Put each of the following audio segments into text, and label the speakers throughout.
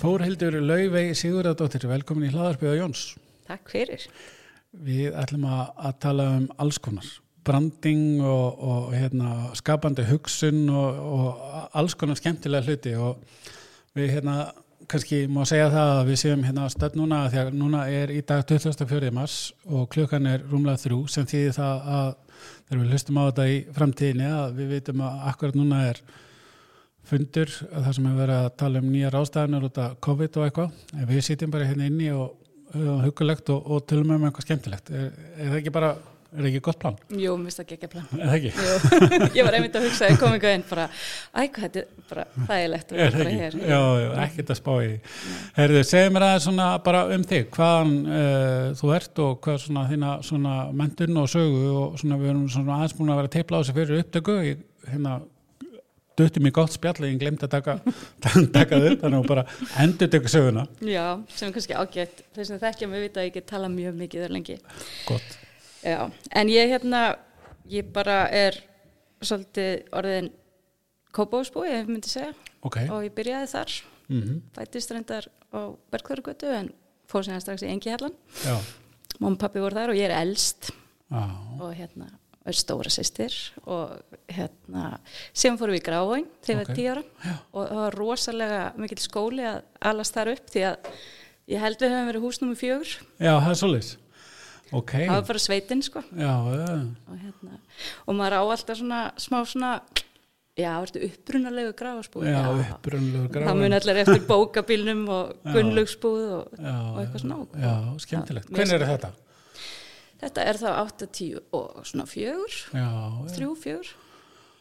Speaker 1: Þórhildur Lauvei Sigurðardóttir, velkomin í hlaðarpiða Jóns.
Speaker 2: Takk fyrir.
Speaker 1: Við ætlum að, að tala um alls konar, branding og, og hérna, skapandi hugsun og, og alls konar skemmtilega hluti og við hérna, kannski má segja það að við séum hérna stödd núna því að núna er í dag 24. mars og klukkan er rúmlega þrjú sem þýðir það að þegar við hlustum á þetta í framtíðinni að við vitum að akkurat núna er fundur þar sem hefur verið að tala um nýjar ástæðanir út af COVID og eitthvað en við sitjum bara hérna inni og höfum hugulegt og, og tölum um eitthvað skemmtilegt er, er það ekki bara, er það ekki gott plan?
Speaker 2: Jú, mér finnst það ekki að plan.
Speaker 1: Er það ekki?
Speaker 2: Jú, ég var einmitt að hugsa að ég kom einhver inn bara, æ, hvað þetta er bara þægilegt að
Speaker 1: Er
Speaker 2: vera
Speaker 1: það
Speaker 2: bara
Speaker 1: ekki?
Speaker 2: hér.
Speaker 1: Já, já, ekkert að spá í því Herðu, segðu mér aðeins svona bara um þig hvaðan uh, þú ert og hvað svona þína svona mentun og sögu og svona við erum svona aðeins búin að vera að teipla á þessu fyrir upptöku ég, hérna, duttum í gott spjall en ég glemt að taka, taka það upp þannig að bara endur tökur söguna
Speaker 2: Já, sem er kannski ágætt. Þeir sem þekkja mig vita að ég get talað mjög mikið þar lengi.
Speaker 1: Gott
Speaker 2: Já, en ég hérna, ég bara er svolítið orðin kópáðsbúi, ef ég myndi segja.
Speaker 1: Ok,
Speaker 2: Og ég byrjaði þar,
Speaker 1: mm
Speaker 2: fættist reyndar á Bergþörugötu en fór síðan strax í Engihallan.
Speaker 1: já
Speaker 2: Mamma og pappi voru þar og ég er elst.
Speaker 1: Já,
Speaker 2: og hérna er stóra sýstir og hérna síðan fórum við í Grávóin þegar
Speaker 1: Ok.
Speaker 2: okay. tíu ára og það var rosalega mikill skóli að alast þar upp því að ég held við höfum verið húsnum fjögur
Speaker 1: já, það er svolítið. Ok,
Speaker 2: það var bara sveitin sko
Speaker 1: já, já,
Speaker 2: og, hérna, og maður á alltaf svona smá svona já, ertu upprunalegu gráðsbúð
Speaker 1: já, upprunnulegur gráður.
Speaker 2: það mun allir eftir bókabilnum og
Speaker 1: Já.
Speaker 2: gunnlaugsbúð og,
Speaker 1: Já,
Speaker 2: og eitthvað svona og
Speaker 1: Já, skemmtilegt.
Speaker 2: Já,
Speaker 1: Hvernig er
Speaker 2: mjög
Speaker 1: þetta?
Speaker 2: þetta er þá 8-10 og svona fjögur
Speaker 1: Já, já,
Speaker 2: þrjú, fjögur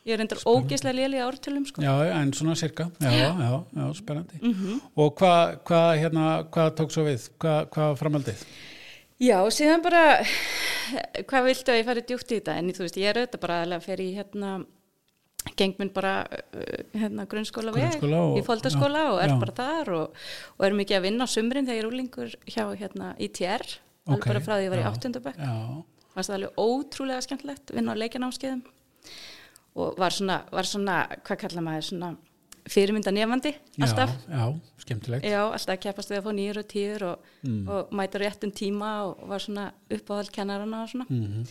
Speaker 2: ég er endur ógeðslega léli ártölum sko.
Speaker 1: já, en svona cirka. Já, já, já, spennandi.
Speaker 2: Mhm.
Speaker 1: Og hvað, hvað, hérna, hvað tók svo við? Hvað, hvað framaldið?
Speaker 2: já, og síðan bara hvað viltu að ég fari djúpt í þetta en þú veist, ég er auðvitað bara aðlega fyrir í hérna geng minn bara uh, hérna, grunnskóla veg
Speaker 1: Grunnskóla og-
Speaker 2: í fóldaskóla
Speaker 1: já,
Speaker 2: og er
Speaker 1: já.
Speaker 2: bara þar og, og er mikið að vinna á sumrin þegar ég er úlingur hjá hérna ITR alveg bara frá því ég var í
Speaker 1: já,
Speaker 2: áttundabæk
Speaker 1: Já,
Speaker 2: fannst það alveg ótrúlega skemmtilegt vinna á leikjanámskeiðum og var svona, var svona hvað kalla maður svona fyrirmynda nefandi alltaf
Speaker 1: já, já, skemmtilegt.
Speaker 2: Já, alltaf að keppast við að fá nýjur og týr og,
Speaker 1: Mm.
Speaker 2: og mæta réttum tíma og var svona uppáhald kennarana og svona
Speaker 1: Mhm.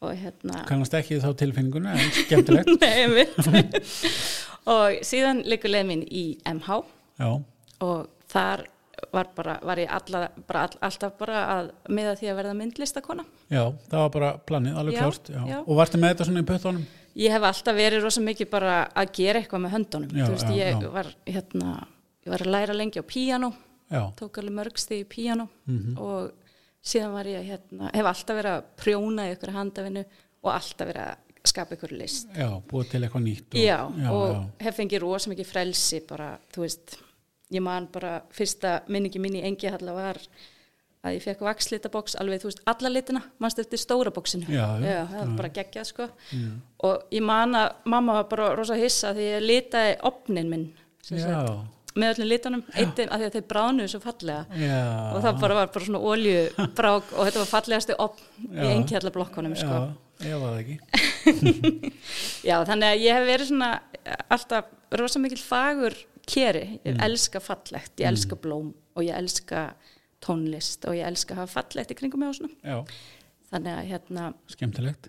Speaker 2: og hérna
Speaker 1: Kannast ekki þá tilfinninguna, en skemmtilegt.
Speaker 2: Nei, einmitt. og síðan liggur leið minn í MH
Speaker 1: já,
Speaker 2: og þar var, bara, var ég alla, bara, all, alltaf bara að miða því að verða myndlistakona
Speaker 1: já, það var bara planið, alveg
Speaker 2: Já,
Speaker 1: klárt. Já.
Speaker 2: já.
Speaker 1: Og varstu með þetta svona í pötunum?
Speaker 2: Ég hef alltaf verið rosa mikið bara að gera eitthvað með höndunum
Speaker 1: Já,
Speaker 2: Þú veist,
Speaker 1: já,
Speaker 2: ég
Speaker 1: já.
Speaker 2: var hérna ég var að læra lengi á píanó
Speaker 1: Já,
Speaker 2: tók alveg mörg stig í píano
Speaker 1: Mhm.
Speaker 2: og síðan var ég hérna, hef alltaf verið að prjóna í ykkur handafinu og alltaf verið að skapa ykkur list.
Speaker 1: já, búið til eitthvað nýtt. Og,
Speaker 2: já, og
Speaker 1: já.
Speaker 2: hef fengið rosa mikið frelsi bara, þú veist, ég man bara fyrsta minningi mín í engi allavega var að ég fekk vakslitaboks alveg, þú veist, alla litina, mannst eftir stóra boksinu.
Speaker 1: Já, já,
Speaker 2: það var bara geggjað, sko. Og ég man að mamma var bara rosa hissa því ég litaði opnin minn, sem sagt,
Speaker 1: Já,
Speaker 2: með öllum litunum, eitt af því að þeir bránuðu svo fallega
Speaker 1: já.
Speaker 2: og það bara var bara svona oljubrák og þetta var fallegasti opn í
Speaker 1: Já.
Speaker 2: engjallar blokkunum sko.
Speaker 1: Já, ég var það ekki.
Speaker 2: já. þannig að ég hef verið svona alltaf rosa mikil fagur keri, ég
Speaker 1: Mm.
Speaker 2: elska fallegt ég elska blóm og ég elska tónlist og ég elska að hafa fallegt í kringum mig og svona,
Speaker 1: Já,
Speaker 2: þannig að hérna
Speaker 1: skemmtilegt.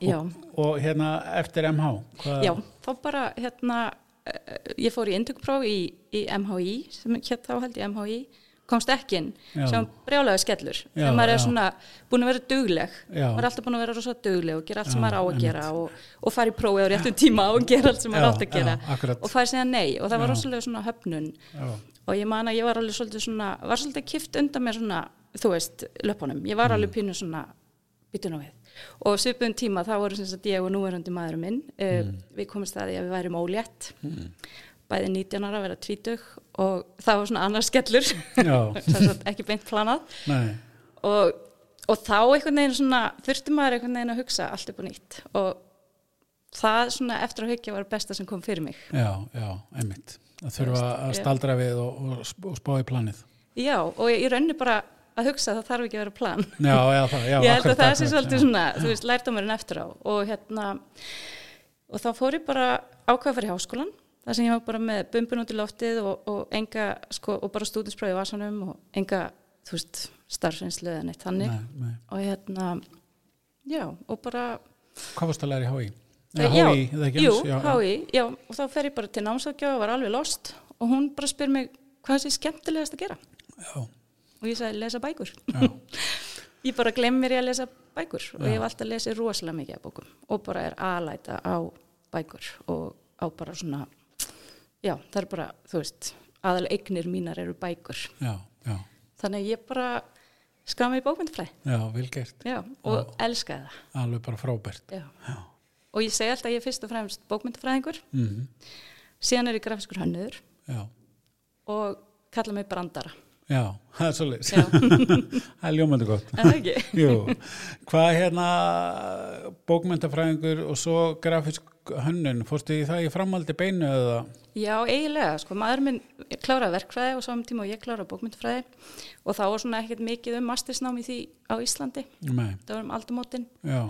Speaker 2: já,
Speaker 1: Og hérna eftir MH? Hvað,
Speaker 2: já, þá bara hérna eh, ég fór í indugpróf í, í MHI, sem hér þá held ég MHI komst ekki inn,
Speaker 1: Já.
Speaker 2: sem brjálega skellur,
Speaker 1: Já,
Speaker 2: þegar maður er
Speaker 1: já.
Speaker 2: svona búin að vera dugleg
Speaker 1: Já.
Speaker 2: maður er alltaf búin að vera rosa dugleg og gera allt sem
Speaker 1: Já,
Speaker 2: maður á að
Speaker 1: einmitt.
Speaker 2: gera og, og fara í prófið á réttum tíma og gera allt sem maður
Speaker 1: Já,
Speaker 2: átt
Speaker 1: já,
Speaker 2: að gera
Speaker 1: akkurat.
Speaker 2: og fara síðan nei og það var
Speaker 1: Já.
Speaker 2: rosalega svona höfnun
Speaker 1: Já,
Speaker 2: og ég man að ég var alveg svolítið svona var svolítið kift undan mér svona þú veist, löpunum, ég var alveg pínu svona bytun á við og svipum tíma þá voru sem sagt ég og núverandi maður minn mm. við komum staði að við værum ólétt bæði 19 ára að vera tvítug og það var svona annars skellur
Speaker 1: já,
Speaker 2: Sem sagt, ekki beint planað
Speaker 1: nei,
Speaker 2: og, og þá einhvern veginn svona þurfti maður einhvern veginn að hugsa allt upp og nýtt og það svona eftir að hugja var besta sem kom fyrir mig
Speaker 1: já, já, einmitt. Það þurfa að staldra við og, og, sp- og spá í planið.
Speaker 2: já og ég, ég raunni bara að hugsa að það þarf ekki að vera plan
Speaker 1: Já, já, það, já,
Speaker 2: ég held
Speaker 1: akkurat,
Speaker 2: að það sé
Speaker 1: akkurat,
Speaker 2: svolítið
Speaker 1: já.
Speaker 2: svona þú veist, lært á mér en eftir á og hérna og þá fór ég bara ákvað fyrir háskólan þar sem ég var bara með bumbun út í loftið og, og enga, sko, og bara stúdinspröði í vasanum og enga, þú veist starfsinslu eða neitt þannig
Speaker 1: Nei, nei.
Speaker 2: og hérna, já, og bara
Speaker 1: Hvað varst að læra í HÍ?
Speaker 2: Eh,
Speaker 1: Eða
Speaker 2: já,
Speaker 1: HÍ, eða ekki
Speaker 2: jú,
Speaker 1: eins? Já,
Speaker 2: HÍ, já, og þá fer ég bara til námsákja og var alveg lost og hún bara spyr mig hvað er sér skemmtilegast að gera
Speaker 1: já,
Speaker 2: og ég sagði lesa bækur
Speaker 1: já.
Speaker 2: ég bara glemmir ég að lesa bækur og ég hef alltaf lesið rosalega mikið af bókum og bara er aðlæta á bækur og á bara svona já, það er bara, þú veist aðal eignir mínar eru bækur
Speaker 1: Já, já,
Speaker 2: þannig að ég bara skam í bókmyndfræði
Speaker 1: já, vel gert.
Speaker 2: já, og elskaði það
Speaker 1: Alveg bara frábært.
Speaker 2: já. og ég segi alltaf að ég er fyrst og fremst bókmyndfræðingur síðan er ég grafiskur hönnur
Speaker 1: mhm, Já,
Speaker 2: og kalla mig brandara
Speaker 1: já, það er svolítið.
Speaker 2: Já.
Speaker 1: það er ljómandi gott.
Speaker 2: en það ekki
Speaker 1: Jú, hvað hérna bókmentafræðingur og svo grafisk hönnun, fórstu í það í framaldi beinu eða?
Speaker 2: já, eiginlega, sko, maður minn kláraði verkfræði og saman tíma og ég kláraði bókmyndfræði og þá var svona ekkert mikið um mastersnám í því á Íslandi
Speaker 1: Nei,
Speaker 2: það var um aldamótin
Speaker 1: já,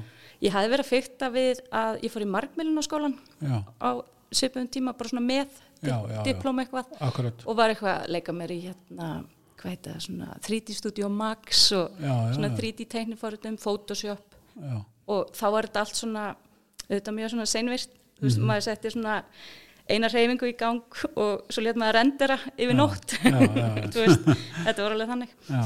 Speaker 2: ég hafði verið að fyrta við að ég fór í margmilun á skólan
Speaker 1: já,
Speaker 2: á svipum tíma bara svona með di
Speaker 1: Já, já, já.
Speaker 2: diplóm eitthvað
Speaker 1: akkurat.
Speaker 2: og var eitthvað að leika mér í hérna hvað heit það, svona 3D Studio Max og
Speaker 1: Já, já,
Speaker 2: svona
Speaker 1: já.
Speaker 2: 3D tekniforutum, Photoshop
Speaker 1: Já,
Speaker 2: og þá var þetta allt svona auðvitað mjög svona seinvirt þú veist,
Speaker 1: Mhm.
Speaker 2: maður setti svona eina reyfingu í gang og svo létt maður rendera yfir nótt
Speaker 1: já, já, já.
Speaker 2: Þú veist, þetta var alveg þannig
Speaker 1: já,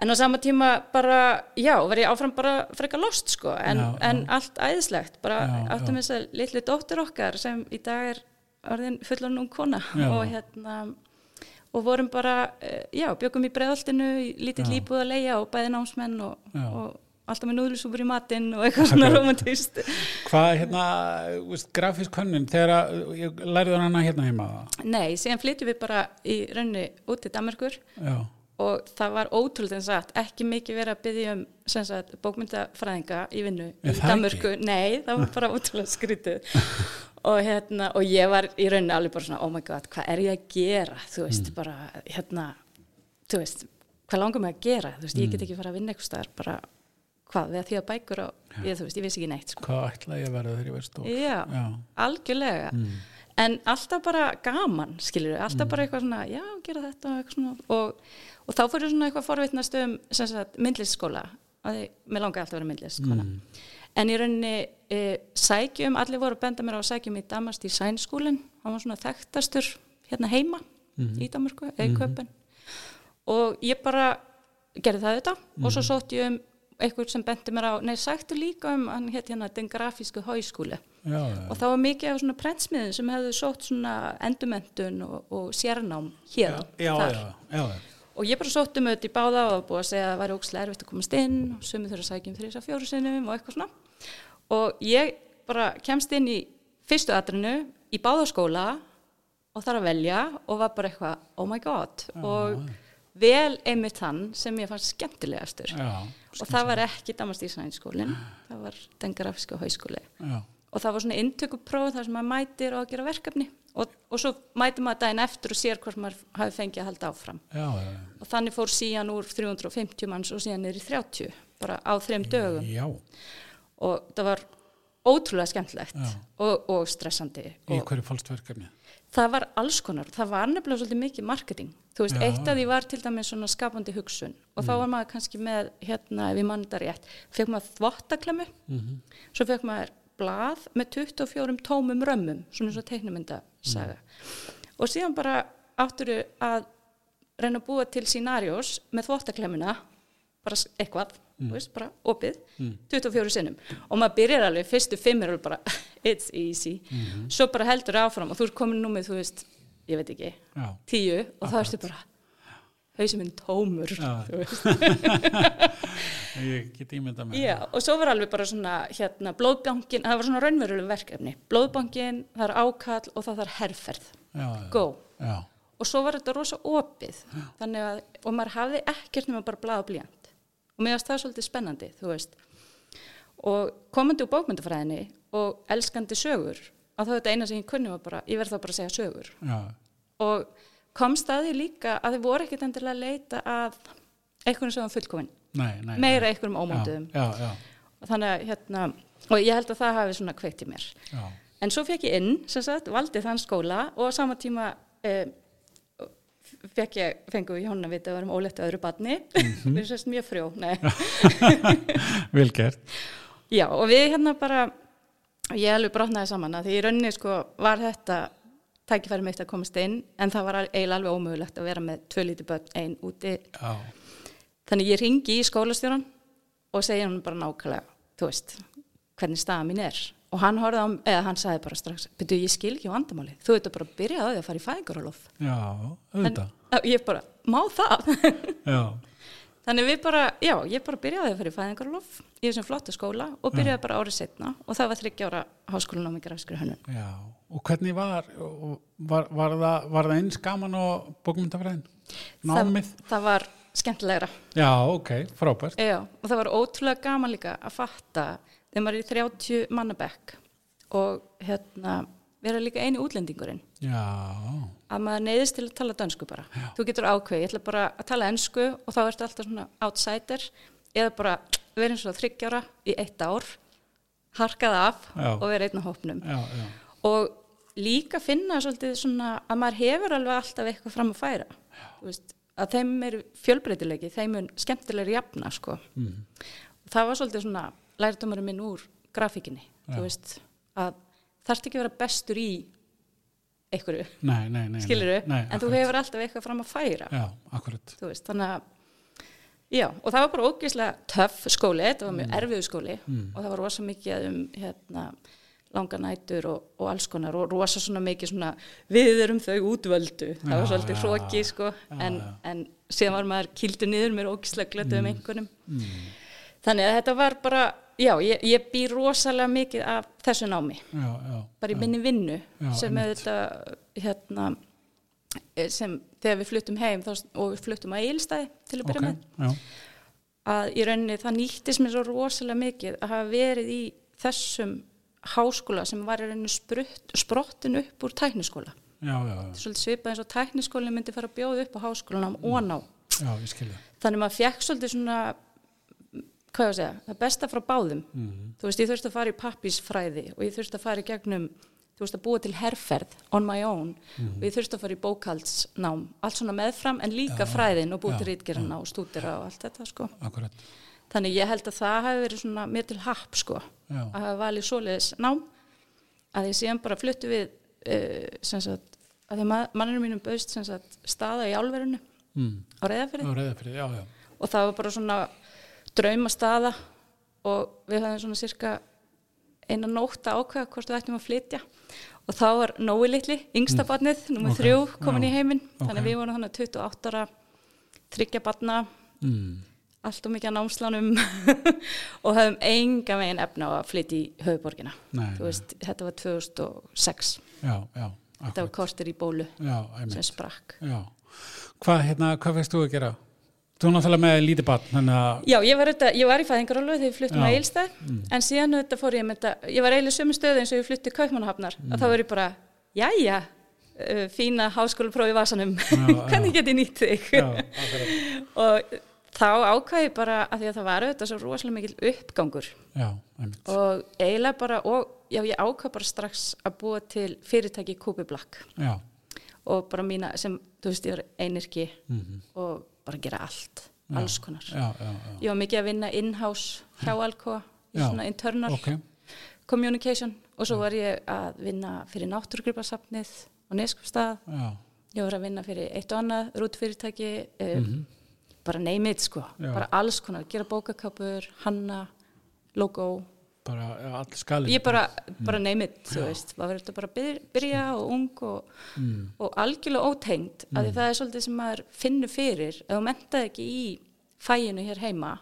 Speaker 2: en á sama tíma bara, já, var ég áfram bara frekar lost sko, en,
Speaker 1: Já, já.
Speaker 2: en allt æðislegt, bara
Speaker 1: Já,
Speaker 2: áttum
Speaker 1: já.
Speaker 2: þess að litlu dóttir okkar sem í dag er orðin fullan um kona
Speaker 1: Já.
Speaker 2: og hérna og vorum bara, eh, já, bjökum í breðaltinu í lítill
Speaker 1: Já.
Speaker 2: íbúð að leia og bæði námsmenn og,
Speaker 1: Já.
Speaker 2: og alltaf með núðlusúpur í matinn og eitthvað svona romantist
Speaker 1: Hvað hérna, þú veist, grafisk hönnun, þegar að, ég lærði hana hérna heima það?
Speaker 2: Nei, síðan flytjum við bara í raunni út til Danmarkur
Speaker 1: Já,
Speaker 2: og það var ótrúlega satt, ekki mikið verið að byggja um sem sagt, bókmyndafræðinga í vinnu
Speaker 1: Er
Speaker 2: í
Speaker 1: það
Speaker 2: Danmörku, nei, það var bara ótrúlega skrítið og, hérna, og ég var í rauninni alveg bara svona, oh my god, hvað er ég að gera þú veist,
Speaker 1: Mm.
Speaker 2: bara, hérna þú veist, hvað langar mig að gera þú veist, ég
Speaker 1: Mm.
Speaker 2: get ekki fara að vinna eitthvað staðar bara, hvað, við að því að bækur og ég, þú veist, ég vissi ekki neitt, sko
Speaker 1: hvað ætla ég að verða þegar ég verð stór?
Speaker 2: Já,
Speaker 1: Já.
Speaker 2: algjörlega en alltaf bara gaman skilur við, alltaf bara eitthvað svona já, gera þetta og eitthvað svona og, og þá fór ég svona eitthvað forvitnast um sem sagt, myndlistskóla að því, mér langaði alltaf að vera myndlistskóla en í rauninni e, sækjum, allir voru að benda mér á að sækjum í Damast í Sænskúlin hann var svona þekktastur hérna heima í Danmarku, eða í Köpen og ég bara gerði það þetta og svo sótti ég um eitthvað sem benti mér á, nei, sæktu líka um hann hétt hérna den grafísku háskúli
Speaker 1: Já, já,
Speaker 2: og það var mikið af svona prentsmiðin sem hefðu sótt svona endurmentun og, og sérnám hér
Speaker 1: já,
Speaker 2: þar.
Speaker 1: já, já, já.
Speaker 2: og ég bara sótt um auðvitað í báða og var búið að segja að það væri ókslega erfitt að komast inn og sumi þurfa að sækja um þrjus að fjóru sinnum og eitthvað svona og ég bara kemst inn í fyrstu atrinu í báða skóla og þar að velja og var bara eitthvað oh my god og vel einmitt þann sem ég fannst skemmtilegastur
Speaker 1: Já,
Speaker 2: og það var ekki Damast Íslandskólin það var den grafíska hauskóli
Speaker 1: já,
Speaker 2: og það var svona inntökupróf þar sem maður mætir og að gera verkefni og, og svo mætir maður daginn eftir og sér hvort maður hafi fengið að halda áfram
Speaker 1: já, já,
Speaker 2: og þannig fór síðan úr 350 manns og síðan niður í 30 bara á þreim dögum
Speaker 1: já,
Speaker 2: og það var ótrúlega skemmtilegt og, og stressandi
Speaker 1: í
Speaker 2: og
Speaker 1: hverju fólst verkefnið?
Speaker 2: það var alls konar, það var nefnilega svolítið mikið marketing, þú veist,
Speaker 1: Já,
Speaker 2: eitt af því var til dæmis svona skapandi hugsun og þá var maður kannski með, hérna, ef ég mann þetta rétt fekk maður þvottaklemmu svo fekk maður blað með 24 tómum römmum, svona eins og teiknumyndasaga og síðan bara átturu að reyna að búa til scenarios með þvottaklemmuna bara s- eitthvað,
Speaker 1: Mm.
Speaker 2: þú veist, bara opið 24 sinnum og maður byrjar alveg, fyrstu fimm er alveg bara it's easy,
Speaker 1: Mhm.
Speaker 2: svo bara heldur áfram og þú er komin númið, þú veist, ég veit ekki
Speaker 1: Já.
Speaker 2: tíu og þá erstu bara hausin minn tómur
Speaker 1: Já.
Speaker 2: þú veist
Speaker 1: Ég get ímyndað með
Speaker 2: Já, og svo var alveg bara svona hérna, blóðbankin, það var svona raunveruleg verkefni blóðbankin, það er ákall og það er herferð,
Speaker 1: já,
Speaker 2: go
Speaker 1: já,
Speaker 2: og svo var þetta rosa opið þannig að, og maður hafði ekkert nema bara blað og blíjant og mér varst það svolítið spennandi, þú veist og komandi úr bókmyndafræðinni og elskandi sögur að það var þetta eina sem ég kunni var bara, ég verð þá bara að segja sögur
Speaker 1: já,
Speaker 2: og komst að því líka að þið voru ekkert endilega að leita að einhvern sem var fullkominn,
Speaker 1: nei, nei
Speaker 2: meira einhverjum
Speaker 1: já,
Speaker 2: ómónduðum
Speaker 1: já, já,
Speaker 2: og þannig að hérna, og ég held að það hafi svona kveikt í mér
Speaker 1: já,
Speaker 2: En svo fekk ég inn, sem sagt, valdi þann skóla og á sama tíma eh, fekk ég, fengu við hjónan við að varum óléttu öðru badni. við erum sérst mjög frjó, nei.
Speaker 1: Vel gert.
Speaker 2: Já, og við hérna bara, ég alveg brotnaði saman að því í rauninni sko var þetta tækifæri mitt að komast inn en það var al- eiginlega alveg ómögulegt að vera með tvö lítið börn einn úti.
Speaker 1: Já,
Speaker 2: Þannig ég ringi í skólastjóran og segja hann bara nákvæmlega, þú veist, hvernig staða mín er. Og hann horfði á, eða hann sagði bara strax, betur ég skil ekki á andamálið, þú veit að bara byrja á því að fara í fæðingarálof.
Speaker 1: já, auðvitað.
Speaker 2: Ég bara, má það?
Speaker 1: Já,
Speaker 2: Þannig við bara, já, ég bara byrjaði að fyrir fæðingarlof í þessum flottu skóla og byrjaði bara árið setna og það var 30 ára háskólanám í grafskri hönnun.
Speaker 1: já. Og hvernig var, og var, var, það, var það eins gaman og bókmyndafræðin? Námið?
Speaker 2: Það, það var skemmtilegra,
Speaker 1: Já, ok, frábært.
Speaker 2: já, og það var ótrúlega gaman líka að fatta þegar maður er í 30 mannabekk og hérna vera líka eini útlendingurinn
Speaker 1: Já,
Speaker 2: að maður neyðist til að tala dönsku bara. Þú getur ákveð, ég ætla bara að tala ensku og þá ertu alltaf svona outsider eða bara vera eins og þryggjára í eitt ár, harkað af
Speaker 1: Já.
Speaker 2: og vera einn á hópnum.
Speaker 1: já, já,
Speaker 2: og líka finna svolítið svona að maður hefur alveg alltaf eitthvað fram að færa Þú veist, að þeim er fjölbreytilegi þeim er skemmtilegri jafna sko.
Speaker 1: Mhm.
Speaker 2: og það var svolítið svona lærdomurinn minn úr grafíkinni þú veist, að þarft ekki að vera bestur í einhverju,
Speaker 1: nei, nei, nei.
Speaker 2: skiluru
Speaker 1: nei, nei,
Speaker 2: en þú hefur alltaf eitthvað fram að færa
Speaker 1: Já, akkurat.
Speaker 2: þú veist, þannig að já, og það var bara ógeðslega töff skóli, þetta var mjög mm. erfiðu skóli og það var rosa mikið um hérna, langa nætur og, og alls konar og rosa svona mikið svona við erum þau útvöldu, það var
Speaker 1: Já,
Speaker 2: svolítið
Speaker 1: já,
Speaker 2: hróki sko, en, en síðan var maður kildur niður mér ógeðslega glötu
Speaker 1: Mm.
Speaker 2: um einhvernum þannig að þetta var bara já, ég, ég bý rosalega mikið af þessu námi
Speaker 1: Já, já,
Speaker 2: bara í minni vinnu
Speaker 1: Já,
Speaker 2: sem er þetta hérna eh, sem þegar við fluttum heim þá, og við fluttum að Egilstæði til að
Speaker 1: ok,
Speaker 2: byrja
Speaker 1: já,
Speaker 2: með að í rauninni það nýttist mér svo rosalega mikið að hafa verið í þessum háskóla sem var í rauninni sprutt, sprottin upp úr tækniskóla
Speaker 1: já, já, já,
Speaker 2: svolítið svipað eins og tækniskólinn myndi fara að bjóða upp á háskólanum mm. og ná
Speaker 1: já, ég skilja.
Speaker 2: þannig maður fekk svolítið svona hvað ég að segja, það besta frá báðum þú veist, ég þurfti að fara í pappísfræði og ég þurfti að fara í gegnum þú veist, að búa til herrferð on my own og ég þurfti að fara í bókaldsnám allt svona meðfram en líka fræðin og búa til rítgerðina og stúdera og allt þetta sko.
Speaker 1: Akkurat.
Speaker 2: þannig ég held að það hafi verið svona mér til happ sko,
Speaker 1: Já.
Speaker 2: að hafa valið svoleiðis nám að ég síðan bara fluttu við uh, sem sagt, að því að manninu mínum bauðst sem sagt, staða í álverinu
Speaker 1: Mm.
Speaker 2: á reyðafyrði
Speaker 1: Já, reyðafrið, já, já.
Speaker 2: og það var bara svona draumastaða og við höfum svona cirka eina nótt að ákveða hvort við ættum að flytja og þá var Nói litli, yngsta barnið, nummer
Speaker 1: Mm. Ok,
Speaker 2: þrjú, komin
Speaker 1: já,
Speaker 2: í heiminn þannig
Speaker 1: ok.
Speaker 2: að við vorum þannig 28 ára þryggja barna,
Speaker 1: Mm.
Speaker 2: allt og mikið að námslanum og höfum enga megin efna á að flytja í höfuborgina
Speaker 1: Nei,
Speaker 2: þú veist, þetta var 2006
Speaker 1: Já, já,
Speaker 2: þetta
Speaker 1: akkurat.
Speaker 2: var kortir í bólu
Speaker 1: Já, einmitt.
Speaker 2: sem sprakk
Speaker 1: Já. Hvað, hérna, hvað veist þú að gera? Þú er náttúrulega með lítið barn, þannig að,
Speaker 2: Já, ég var, auðvitað, ég var í fæðingarólu þegar ég
Speaker 1: Já.
Speaker 2: fluttum
Speaker 1: Mm.
Speaker 2: á Eilstæð en síðan auðvitað fór ég með þetta, ég var eiginlega sömu stöðu eins og ég flutti í Kaupmannahafnar
Speaker 1: Mm.
Speaker 2: og þá var ég bara, jæja, uh, fína háskólapróf í vasanum,
Speaker 1: já.
Speaker 2: hvernig get ég nýtt þig?
Speaker 1: já, akkurat.
Speaker 2: og þá ákvæði ég bara að því að það var auðvitað svo rosalega mikil uppgangur
Speaker 1: Já, einmitt.
Speaker 2: og eiginlega bara, og, já, ég ákvæði bara strax að búa til fyrirtæki Kúpi Black
Speaker 1: Já,
Speaker 2: og bara mína sem, þú veist, ég var einirki og bara gera allt, alls konar.
Speaker 1: mhm. já, já, já.
Speaker 2: Ég var mikið að vinna in-house hjá Alcoa, í
Speaker 1: Já.
Speaker 2: svona internal
Speaker 1: Ok,
Speaker 2: communication og svo var ég að vinna fyrir náttúrgripasafnið og neskupstað.
Speaker 1: já,
Speaker 2: Ég var að vinna fyrir eitt og annað, rútfyrirtæki, um, bara name it sko,
Speaker 1: Mhm. Já.
Speaker 2: bara alls konar, gera bókakapur, hanna, logo.
Speaker 1: bara já, all skalinn.
Speaker 2: Ég bara, bara name it, þú veist, maður verður bara að byrja, byrja og ung og, og algjörlega ótengd, af því það er svolítið sem maður finnur fyrir, ef þú mentaði ekki í fæinu hér heima,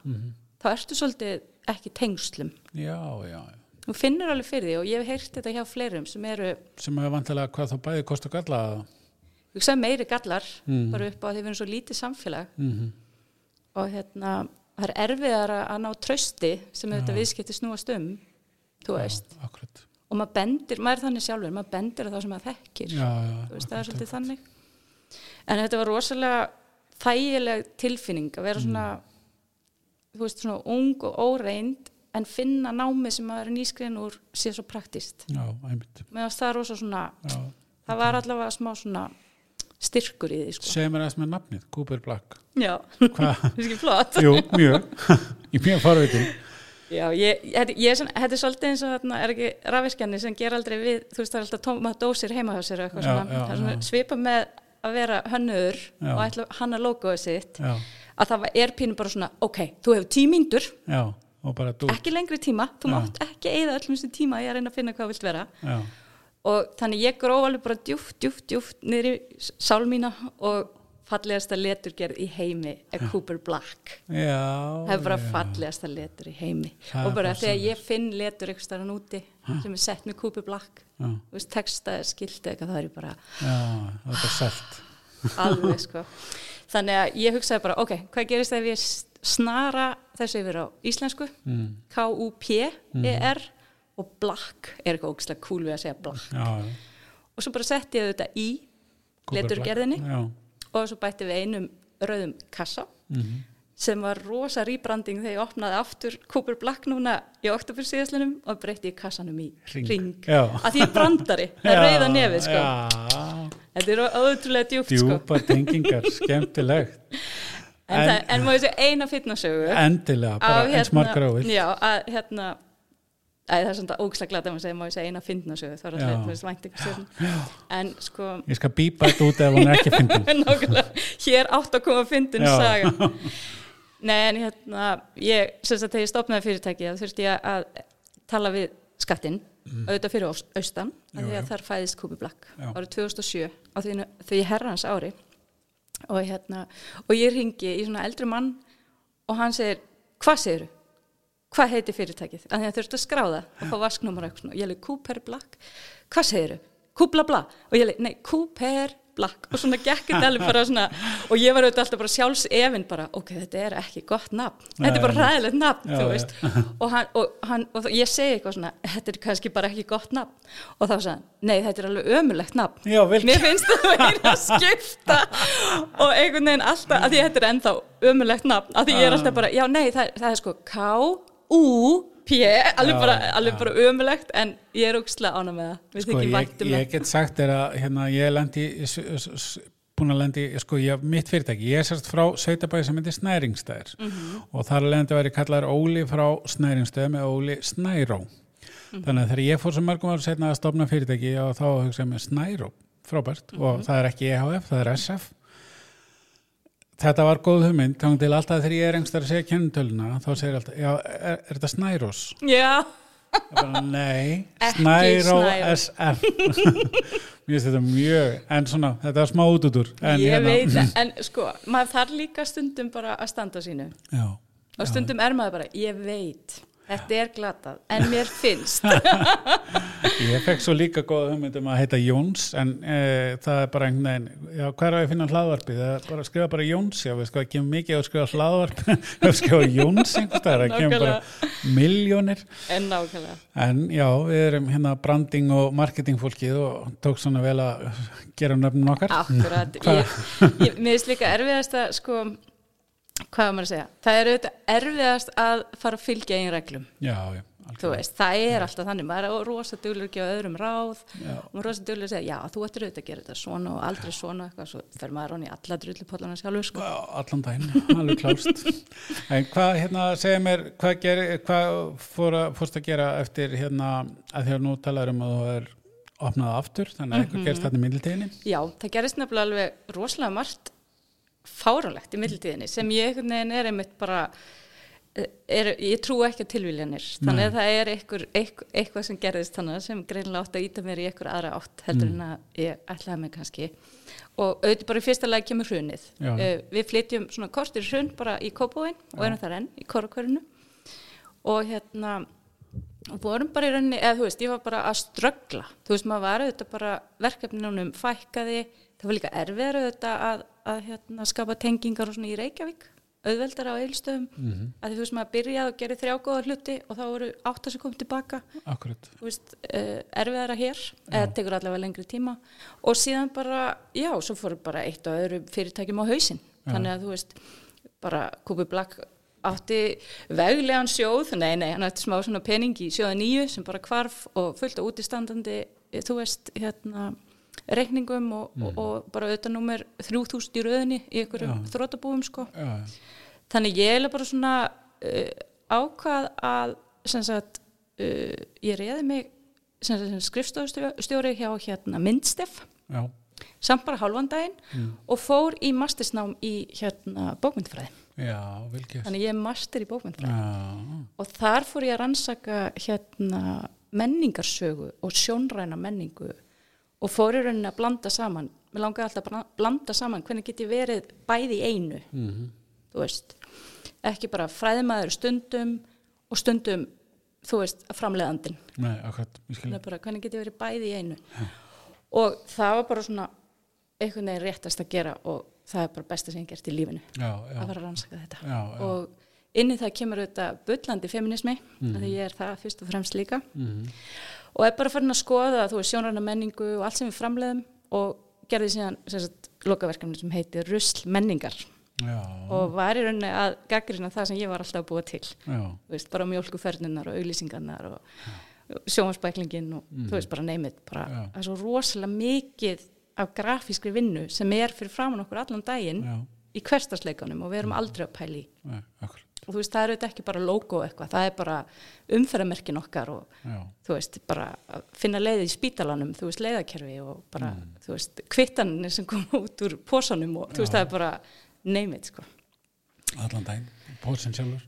Speaker 2: þá ertu svolítið ekki tengslum.
Speaker 1: Já, já, já.
Speaker 2: Þú finnur alveg fyrir því og ég hef heyrt þetta hjá fleirum sem eru
Speaker 1: Sem er vantilega hvað þá bæði kost og galla að...
Speaker 2: hugsaði meiri gallar bara upp á því við erum svo lítið samfélag
Speaker 1: Mhm.
Speaker 2: og hérna það er erfiðar að ná trösti sem þetta viðskipti snúast um þú veist,
Speaker 1: Já, akkurat.
Speaker 2: og maður bendir maður er þannig sjálfur, maður bendir á þá sem maður þekkir
Speaker 1: Já, já,
Speaker 2: þú veist, það er svolítið þannig en þetta var rosalega Mm. þægileg tilfinning að vera svona þú veist, svona ung og óreind en finna námið sem maður er nýskriðin úr sé svo praktist
Speaker 1: já, einmitt
Speaker 2: meðan það er rosa svona,
Speaker 1: já.
Speaker 2: það var allavega smá svona styrkur í því sko.
Speaker 1: segir mér aðeins með nafnið, Cooper Black
Speaker 2: já,
Speaker 1: hvað,
Speaker 2: það er ekki flott
Speaker 1: jú, mjög í mjög farveitin
Speaker 2: já, ég, ég, ég, er svona- þetta er svolítið eins og þarna er ekki rafvirkjarnir sem ger aldrei við þú veist það er alltaf tóma dósir heima hjá sér og eitthvað
Speaker 1: Já,
Speaker 2: svona,
Speaker 1: já,
Speaker 2: það er svona
Speaker 1: já.
Speaker 2: svipa með að vera hönnur
Speaker 1: Já.
Speaker 2: og ætla hann að logoðu sitt
Speaker 1: já,
Speaker 2: að það er pínu bara svona, ok, þú hefur tímyndur
Speaker 1: já, og bara dú
Speaker 2: ekki lengri tíma, þú
Speaker 1: Já.
Speaker 2: mátt ekki eigða öllum þessu tíma í að reyna að finna hvað þú vilt vera
Speaker 1: já,
Speaker 2: og þannig ég gróf alveg bara djúft, djúft, djúft niður í sál mína og fallegasta leturgerð í heimi er Cooper Black
Speaker 1: já
Speaker 2: það er bara
Speaker 1: já.
Speaker 2: fallegasta letur í heimi
Speaker 1: Það
Speaker 2: og
Speaker 1: er
Speaker 2: bara
Speaker 1: bara
Speaker 2: þegar ég finn letur ykkur starf úti sem er sett með Cooper Black
Speaker 1: Já.
Speaker 2: þú veist, texta er skilt eitthvað það er ég bara
Speaker 1: já, það er bara sælt
Speaker 2: alveg sko þannig að ég hugsaði bara, ok, hvað gerist ef ég snara þessu yfir á íslensku
Speaker 1: Mm.
Speaker 2: K-U-P-E-R
Speaker 1: Mhm.
Speaker 2: og black er eitthvað ógislega cool við að segja black
Speaker 1: já, já.
Speaker 2: og svo bara setti ég þetta í
Speaker 1: Cooper Black.
Speaker 2: leturgerðinni
Speaker 1: já,
Speaker 2: og svo bætti við einum rauðum kassa
Speaker 1: Mhm.
Speaker 2: sem var rosa rýbranding þegar ég opnaði aftur Cooper Black núna í oktober síðaslinum og breytti ég kassanum í
Speaker 1: Hring.
Speaker 2: ring,
Speaker 1: Já.
Speaker 2: að því ég er brandari, það er rauða nefið sko.
Speaker 1: já,
Speaker 2: þetta er ótrúlega djúpt sko.
Speaker 1: djúpa tengingar, skemmtilegt
Speaker 2: en,
Speaker 1: En-
Speaker 2: en, það, en má ég segja eina fitnassögu
Speaker 1: endilega, bara
Speaker 2: af
Speaker 1: eins margar
Speaker 2: hérna,
Speaker 1: ávið
Speaker 2: já, að hérna æ, það er svona ógislega glad að maður segja, má ég segja eina fitnassögu þá er
Speaker 1: Já.
Speaker 2: alltaf, þú veist, vænt eitthvað en sko,
Speaker 1: ég skal bípa þetta út ef hún er ekki fyndin
Speaker 2: Nákvæmlega, hér átt að koma fyndin
Speaker 1: Já.
Speaker 2: saga. Nei, en hérna, ég, sem sagt, þegar ég stopnaði fyrirtæki, þá þurfti ég að tala við skattinn, auðvitað fyrir aus- austan, af
Speaker 1: Mm. Jú,
Speaker 2: því
Speaker 1: jú.
Speaker 2: að þar fæðist Kúpi Black
Speaker 1: Já.
Speaker 2: árið 2007, á því, því herrans ári. Og hérna, og ég ringi í svona eldri mann og hann segir, hvað segirðu? Hvað heitir fyrirtækið? Þannig að þurfti að skráða og fá vasknúmer og eitthvað svona. Ég leik Cooper Black. Hvað segirðu? Kúbla bla. Og ég leik, nei, Cooper Black. Og svona gekk þetta alveg bara svona. Og ég var auðvitað alltaf bara sjálfs efinn bara, ok, þetta er ekki gott nafn. Þetta er bara
Speaker 1: Nei.
Speaker 2: ræðilegt nafn,
Speaker 1: Já,
Speaker 2: þú
Speaker 1: já.
Speaker 2: veist. Og, hann, og, hann, og ég segi eitthvað svona, þetta er kannski bara ekki gott nafn. Og þá sagði hann, nei, þetta er alveg ömulegt nafn.
Speaker 1: Já, vel
Speaker 2: Mér finnst það meira skipta og einhvern veginn alltaf, að því þetta er ennþá ömulegt nafn, að því ég er alltaf bara, já nei, það, það er sko K-U-P, alveg,
Speaker 1: Já,
Speaker 2: bara,
Speaker 1: já.
Speaker 2: alveg bara ömulegt, en ég er ógislega ána með það, við
Speaker 1: sko,
Speaker 2: þykir
Speaker 1: ég,
Speaker 2: vænt um
Speaker 1: ég get sagt þér að hérna, ég lendi búin að lendi, sko, ég, mitt fyrirtæki ég er sérst frá sveitabæði sem heitir Snæringstæðir og þar að leiðandi væri kallar Óli frá Snæringstæði með Óli Snæró þannig að þegar ég fór sem mörgum ára setna að stofna fyrirtæki og þá hugsaði mér Snæró, frábært og það er ekki EHF, það er SF þetta var góð hugmynd þá til alltaf þegar ég er engst að segja kennutöluna þá segir alltaf, já, er, er þetta Snærós?
Speaker 2: það. Já,
Speaker 1: Ég bara, Nei,
Speaker 2: Ekki
Speaker 1: Snæró
Speaker 2: Snæró.
Speaker 1: SF Mér finnst þetta mjög en svona, þetta er smá út út úr en,
Speaker 2: ég
Speaker 1: hérna-
Speaker 2: veit það, en sko, maður þarf líka stundum bara að standa á sínu
Speaker 1: Já,
Speaker 2: og stundum er maður bara, ég veit, þetta er glatað, en mér finnst.
Speaker 1: ég fekk svo líka góða hugmynd um að heita Jóns en e, það er bara einhvern veginn já, hver á ég að finna hlaðvarpið? Það er bara að skrifa bara Jóns, já, við sko, það kemur mikið að skrifa hlaðvarp að skrifa Jóns einhvers staðar, það kemur bara miljónir
Speaker 2: En nákvæmlega.
Speaker 1: En já, við erum hérna branding og marketing fólkið og tók svona vel að gera nöfnum okkar
Speaker 2: Akkurat, ég, ég, mér finnst líka erfiðast að sko, hvað á maður að segja það er auðvitað erfiðast að fara að fylgja einn reglum,
Speaker 1: Já, já, algjörlega.
Speaker 2: þú veist, það er alltaf þannig, maður er rosa duglur ekki á öðrum ráð og maður er rosa duglur að segja, já, þú ættir auðvitað að gera þetta svona og aldrei svona eitthvað, svo fer maður honni alla drullupollana sjálfur, sko.
Speaker 1: Já, allan daginn, alveg klást en hvað, hérna, segja mér hvað, geri, hvað fór að, fórst að gera eftir hérna, að þér nú talar um að þú er opnað aftur, þannig að
Speaker 2: Mhm.
Speaker 1: eitthvað gerst þarna í middiltíðinni
Speaker 2: Já, það gerist nefnilega alveg rosalega margt fáránlegt í middiltíðinni sem ég einhvern veginn er einmitt bara eh, er, ég trú ekki að tilvíljanir þannig að það er einhver, einhver, eitthvað sem gerðist þannig sem greinlega átt að íta mér í einhver aðra átt heldur en að ég ætlaði mér kannski og auðvitað bara í fyrsta lagi kemur hrunið
Speaker 1: Já.
Speaker 2: Eh, við flytjum svona kortir hrun bara í Kópóin og erum þar enn í Korokverinu og hérna og vorum bara í rauninni, eða þú veist, ég var bara að ströggla, þú veist, maður var auðvitað bara verkefninunum fækkaði það var líka erfiðar auðvitað að, að hérna, skapa tengingar og svona í Reykjavík auðveldar á eilstöðum mm -hmm. að því, þú veist, maður byrjaði og gerði þrjá góða hluti og þá voru átta sem kom tilbaka
Speaker 1: Akkurat,
Speaker 2: þú veist, uh, erfiðara hér eða tekur allavega lengri tíma og síðan bara, já, svo fóru bara eitt og öðru fyrirtækjum á hausinn þannig að þú veist, bara Kupi Black átti veglegan sjóð, nei, nei, hann átti smá svona pening í sjóða nýju sem bara kvarf og fullt á útistandandi, eh, þú veist, hérna, reikningum og, og, og bara auðvitað númer 3000 í röðinni í einhverjum þrótabúum, sko.
Speaker 1: já, já.
Speaker 2: Þannig ég er bara svona uh, ákvað að sem sagt, uh, ég reyði mig sem sagt, sem skrifstofustjóri hjá hérna myndstef
Speaker 1: já,
Speaker 2: samt bara hálfan daginn og fór í mastersnám í hérna bókmyndfræði.
Speaker 1: já, vel gert
Speaker 2: Þannig ég er master í bókmyndfræði
Speaker 1: já,
Speaker 2: og þar fór ég að rannsaka hérna menningarsögu og sjónræna menningu og fór í rauninni að blanda saman mér langaði alltaf að bla- blanda saman hvernig get ég verið bæði í einu -hmm. þú veist, ekki bara fræðimaður stundum og stundum þú veist, framleiðandinn
Speaker 1: nei, akkurat, ég skil
Speaker 2: Þannig bara, hvernig get ég verið bæði í einu og það var bara svona einhvern veginn réttast að gera og það er bara besta sem ég hef gert í lífinu
Speaker 1: já, já,
Speaker 2: að fara að rannsaka þetta
Speaker 1: já, já,
Speaker 2: og inni það kemur auðvitað bullandi feminismi, mm.
Speaker 1: Mhm.
Speaker 2: því ég er það fyrst og fremst líka og er bara farin að skoða þú veist sjónræna menningu og allt sem við framleiðum og gerði síðan sem sagt, lokaverkefni sem heitir Rusl menningar
Speaker 1: já,
Speaker 2: og var í rauninni að gaggrina það sem ég var alltaf að búa til
Speaker 1: já,
Speaker 2: Þú veist, bara mjólkuferðnunar og auglýsingarnar og sjónvarspæklingin og þú veist bara neymið bara,
Speaker 1: Mhm. Já.
Speaker 2: það er svo rosalega mikið af grafískri vinnu sem er fyrir framann okkur allan daginn
Speaker 1: já,
Speaker 2: í hversdagsleikanum og við erum aldrei að pæli
Speaker 1: nei, akkurat,
Speaker 2: og þú veist, það er auðvitað ekki bara logo eitthvað, það er bara umferðamerkin okkar og
Speaker 1: já,
Speaker 2: þú veist, bara að finna leiði í spítalanum, þú veist, leiðakerfi og bara, þú veist, kvittanir sem koma út úr posanum og þú veist, það er bara name it, sko.
Speaker 1: allan daginn, pólsinn sjálfur,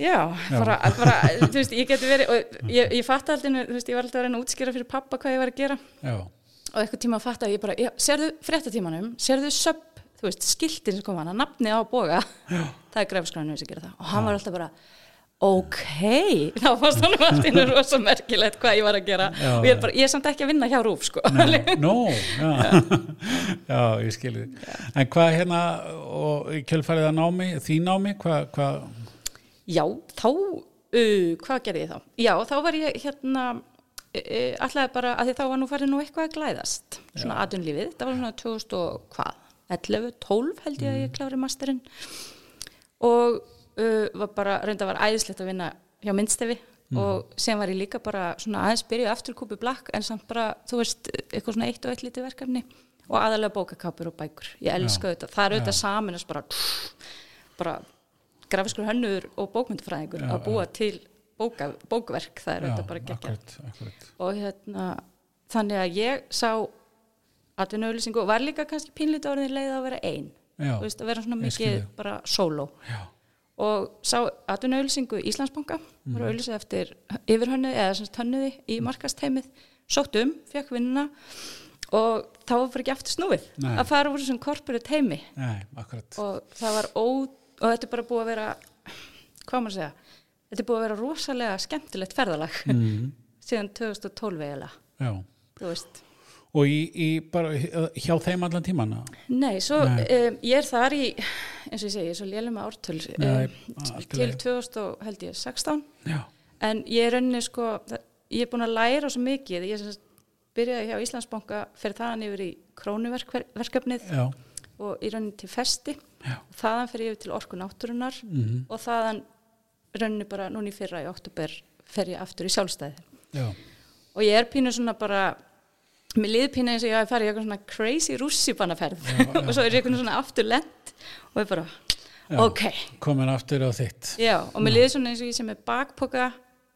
Speaker 2: Já, bara, bara, þú veist, ég geti verið og ég, ég fatt alltaf, þú veist, ég var alltaf að reyna að útskýra fyrir pappa hvað ég var að gera
Speaker 1: já,
Speaker 2: og eitthvað tíma að fatta að ég bara, já, sérðu fréttatímanum, sérðu söpp, þú veist, skiltin sem kom hana, nafni á boga, það er grefskrænum sem gera það og hann var alltaf bara, ok, þá fannst hann allt innu rosa merkilegt hvað ég var að gera
Speaker 1: Já,
Speaker 2: og ég er bara, ég er samt ekki að vinna hjá Rúf, sko.
Speaker 1: Nei, Nó, já. já, ég skilji. En hvað hérna, og í kjölfærið að námi, því námi, hvað, hvað,
Speaker 2: já, þá, uh, hvað gerði ég þá? Já, þá var ég hérna, uh, allavega bara, að því þá var nú farið nú eitthvað að glæðast, svona atunlífið, það var svona 2000 og hvað, 11, 12 held
Speaker 1: Mm.
Speaker 2: ég að ég klári masterinn. og uh, var bara, reynda var æðislegt að vinna hjá myndstefi
Speaker 1: Mhm.
Speaker 2: og sem var ég líka bara svona aðeins byrjuð aftur kúpi blakk en samt bara, þú veist, eitthvað svona eitt og eitt lítið verkefni og aðalega bókakápur og bækur ég elska þetta, það er auðvitað saminast bara bara grafiskur hönnur og bókmyndfræðingur að búa til bóka, bókverk það er
Speaker 1: já,
Speaker 2: auðvitað bara geggjað
Speaker 1: akkurat, akkurat.
Speaker 2: og hérna þannig að ég sá atvinnaauðlýsingu og var líka kannski pínlítið orðin leið að vera ein
Speaker 1: Já,
Speaker 2: Þú veist, að vera svona
Speaker 1: ég skil
Speaker 2: mikið
Speaker 1: þig.
Speaker 2: bara sóló
Speaker 1: Já,
Speaker 2: og sá atvinnaauðlýsingu í Íslandsbanka mm.
Speaker 1: Mhm.
Speaker 2: voru auðlýsa eftir yfirhönnuði eða sem sagt hönnuði í markasteimið sótt um, fekk vinnuna og þá var bara ekki aftur snúið
Speaker 1: Nei.
Speaker 2: að fara úr þessum corporate heimi
Speaker 1: nei, akkurat.
Speaker 2: og það var ó og þetta er bara búið að vera hvað á maður að segja, þetta er búið að vera rosalega skemmtilegt ferðalag
Speaker 1: Mhm.
Speaker 2: síðan 2012 eiginlega
Speaker 1: Já,
Speaker 2: þú veist
Speaker 1: og í, í bara hjá þeim allan tímana?
Speaker 2: Nei, svo
Speaker 1: Nei.
Speaker 2: Um, ég er þar í, eins og ég segi, ég er svo lélum að ártöl
Speaker 1: Nei,
Speaker 2: um,
Speaker 1: allt í
Speaker 2: til
Speaker 1: lagi.
Speaker 2: 2000 og held ég 16
Speaker 1: Já,
Speaker 2: en ég er rauninni sko, það- ég er búin að læra svo mikið, ég sem sagt byrjaði hjá Íslandsbanka, fer þaðan yfir í krónuverkefnið
Speaker 1: já,
Speaker 2: og í rauninni til festi
Speaker 1: Já.
Speaker 2: og þaðan fer ég yfir til orku náttúrunar -hmm. og þaðan rauninni bara núna í fyrra í oktober fer ég aftur í sjálfstæði
Speaker 1: já,
Speaker 2: og ég er pínu svona bara mér liði pínu eins og ég hafi farið í eitthvað svona crazy rússipannaferð og svo er ég eitthvað svona aftur lent og ég bara,
Speaker 1: Já.
Speaker 2: ok
Speaker 1: komin aftur á þitt.
Speaker 2: já, og mér liði svona eins og ég sem er bakpoka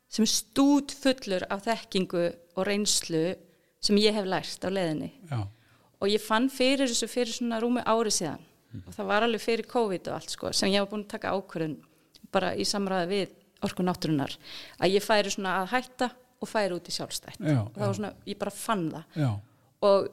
Speaker 2: sem er stút fullur af þekkingu og reynslu sem ég hef lært á leiðinni
Speaker 1: Já,
Speaker 2: og ég fann fyrir þessu fyrir svona rúmi ári síðan og það var alveg fyrir COVID og allt sko sem ég var búin að taka ákvörðun bara í samræði við orku náttúrunar að ég færi svona að hætta og færi út í sjálfstætt
Speaker 1: Já,
Speaker 2: og það var svona, ég bara fann það
Speaker 1: já,
Speaker 2: og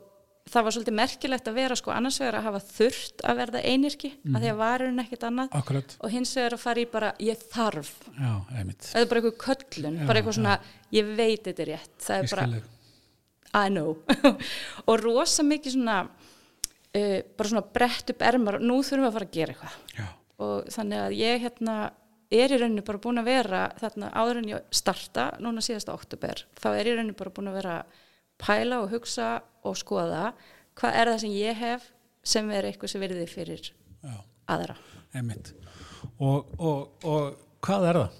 Speaker 2: það var svolítið merkilegt að vera sko annars vegar að hafa þurft að verða einirki að því að varurinn ekkit annað
Speaker 1: Mhm. akkurat.
Speaker 2: og hins vegar að fara í bara ég þarf
Speaker 1: Já, einmitt.
Speaker 2: eða bara eitthvað köllun, bara eitthvað svona ég veit þetta er rétt, það
Speaker 1: Ég
Speaker 2: er bara
Speaker 1: skilji.
Speaker 2: I know og rosa mikið svona uh, bara svona brett upp ermar og nú þurfum við að fara að gera eitthvað
Speaker 1: Já,
Speaker 2: og þannig að ég hérna er í rauninu bara búin að vera þarna áður en ég starta núna síðasta oktober þá er ég í rauninu bara búin að vera að pæla og hugsa og skoða hvað er það sem ég hef sem er eitthvað sem verði fyrir
Speaker 1: já,
Speaker 2: aðra
Speaker 1: einmitt. og, og, og hvað er það?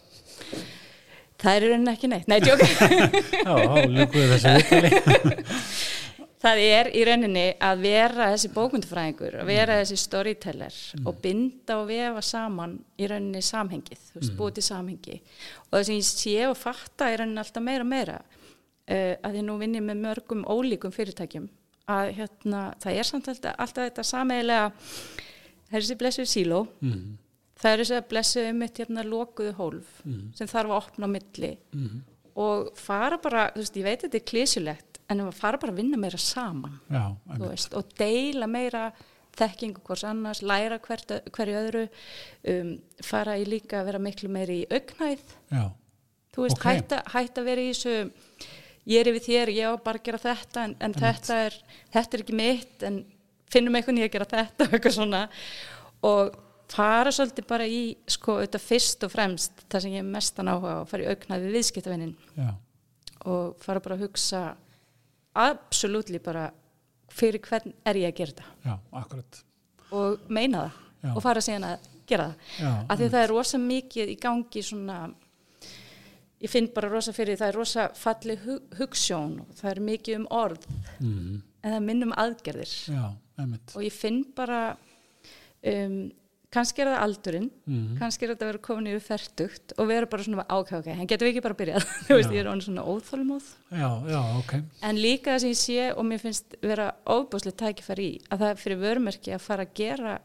Speaker 2: Það er í rauninni ekki neitt. Nei, djók.
Speaker 1: Já, þá ljúkum við þessu viðtali.
Speaker 2: það er í rauninni að vera þessi bókmyndfræðingur, að vera þessi storyteller og binda og vefa saman í rauninni samhengið, þú veist, búið til samhengi. Og það sem ég sé og fatta í rauninni alltaf meira og meira, uh, að ég nú vinn ég með mörgum ólíkum fyrirtækjum, að hérna, það er samt alltaf, alltaf þetta sameigilega, það er þessi blessuð síló, það er þessi að blessuð um mitt hérna lokuðu hólf sem þarf að opna á milli og fara bara, þú veist, ég veit þetta er klísulegt en að fara bara að vinna meira saman
Speaker 1: Já,
Speaker 2: þú
Speaker 1: einmitt.
Speaker 2: veist, og deila meira þekkingu hvers annars, læra hvert, hverju öðru um, fara í líka að vera miklu meiri í augnæð
Speaker 1: já,
Speaker 2: þú veist,
Speaker 1: Ok.
Speaker 2: okay. hætta, hætta að vera í þessu ég er yfir þér, ég á bara að gera þetta en, en þetta, er, þetta er ekki mitt en finnum einhvern ég að gera þetta eitthvað svona og fara svolítið bara í sko, auðvitað fyrst og fremst það sem ég er mestan áhuga á að fara í augnæð við viðskiptavinnin
Speaker 1: já,
Speaker 2: og fara bara að hugsa absolutt bara fyrir hvern er ég að gera þetta
Speaker 1: já, akkurat.
Speaker 2: og meina það
Speaker 1: Já.
Speaker 2: og fara síðan að gera það
Speaker 1: Já,
Speaker 2: af því að það er rosa mikið í gangi svona ég finn bara rosa fyrir því, það er rosa falli hug, hugsjón og það er mikið um orð
Speaker 1: Mm,
Speaker 2: en það er minna um aðgerðir
Speaker 1: já, einmitt.
Speaker 2: og ég finn bara um, kannski er það aldurinn
Speaker 1: Mhm.
Speaker 2: kannski er þetta að vera komin yfir fertugt og vera bara svona ákveð, ok, hann getur við ekki bara byrjað þú veist,
Speaker 1: Já.
Speaker 2: ég er orðin svona óþólmóð
Speaker 1: Já, já, ok.
Speaker 2: En líka það sem ég sé og mér finnst vera óbúslega tækifæri í að það er fyrir vörmerki að fara að gera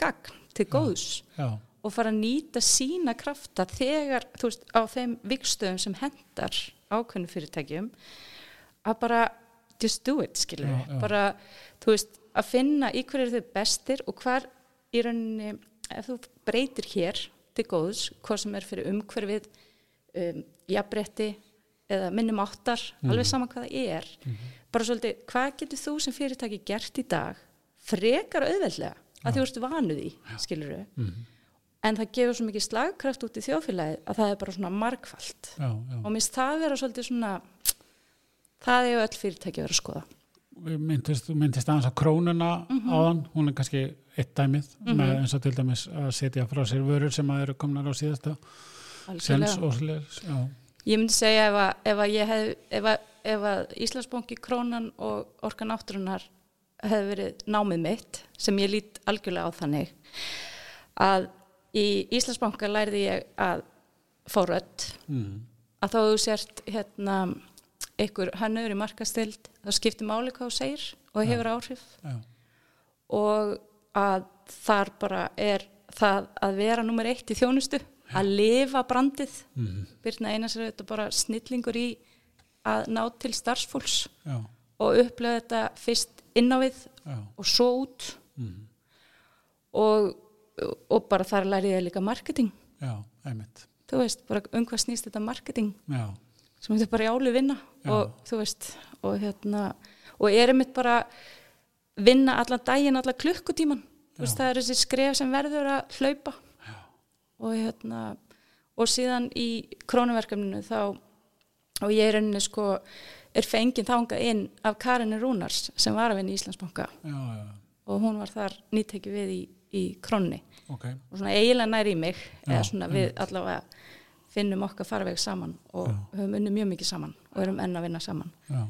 Speaker 2: gagn til góðs
Speaker 1: Já,
Speaker 2: og fara að nýta sína krafta þegar, þú veist, á þeim vikstöðum sem hendar ákveðnum fyrirtækjum að bara just do it, skilur
Speaker 1: Já,
Speaker 2: við
Speaker 1: já.
Speaker 2: bara, þú veist, að finna í hverju eru þau bestir og hvar í rauninni, ef þú breytir hér til góðs, hvað sem er fyrir umhverfið um, jafnbretti eða minnum áttar,
Speaker 1: Mhm.
Speaker 2: alveg saman hvað það er bara svolítið, hvað getur þú sem fyrirtæki gert í dag frekar auðveldlega að þú ert vanuð í, skilur við en það gefur svo mikið slagkraft út í þjófélagið að það er bara svona margfalt
Speaker 1: já, já.
Speaker 2: og minnst það vera svolítið svona það er öll fyrirtæki að vera að skoða
Speaker 1: myndist, þú myndist aðeins á krónuna
Speaker 2: Mhm.
Speaker 1: áðan, hún er kannski eitt dæmið með eins og til dæmis að setja frá sér vörur sem að eru komnar á síðasta sens
Speaker 2: Algjörlega.
Speaker 1: og sliðis já,
Speaker 2: ég myndi segja ef að, ef að, ég hef, ef að, ef að Íslandsbanki, Krónan og Orka Náttúrunar hefði verið námið mitt sem ég lít algjörlega á þannig að í Íslandsbanka lærði ég að fá rödd
Speaker 1: mm.
Speaker 2: að þá þú sért hérna einhver hannur í markastild þá skiptir máli hvað þú segir og það hefur áhrif
Speaker 1: já,
Speaker 2: og að þar bara er það að vera nummer eitt í þjónustu, að lifa brandið mm. Birna Einars er þetta bara snillingur í að ná til starfsfólks
Speaker 1: já,
Speaker 2: og upplöða þetta fyrst inn á við
Speaker 1: já,
Speaker 2: og svo út og, og bara þar lærið ég líka marketing
Speaker 1: já, einmitt
Speaker 2: þú veist, bara um hvað snýst þetta marketing
Speaker 1: já,
Speaker 2: sem þetta er bara í áli vinna
Speaker 1: Já.
Speaker 2: og þú veist og hérna og er einmitt bara vinna allan daginn, allan klukkutíman þú veist það er þessi skref sem verður að hlaupa
Speaker 1: Já.
Speaker 2: og hérna og síðan í krónuverkefninu þá og ég er enni sko er fengið þangað inn af Karinni Rúnars sem var að vinna í Íslandsbanka
Speaker 1: já, já,
Speaker 2: og hún var þar nýttekju við í, í krónni
Speaker 1: ok
Speaker 2: og svona eiginlega nær í mig eða
Speaker 1: Já,
Speaker 2: svona við allavega finnum okkar farveg saman og höfum unnið mjög mikið saman og erum enn að vinna saman
Speaker 1: já,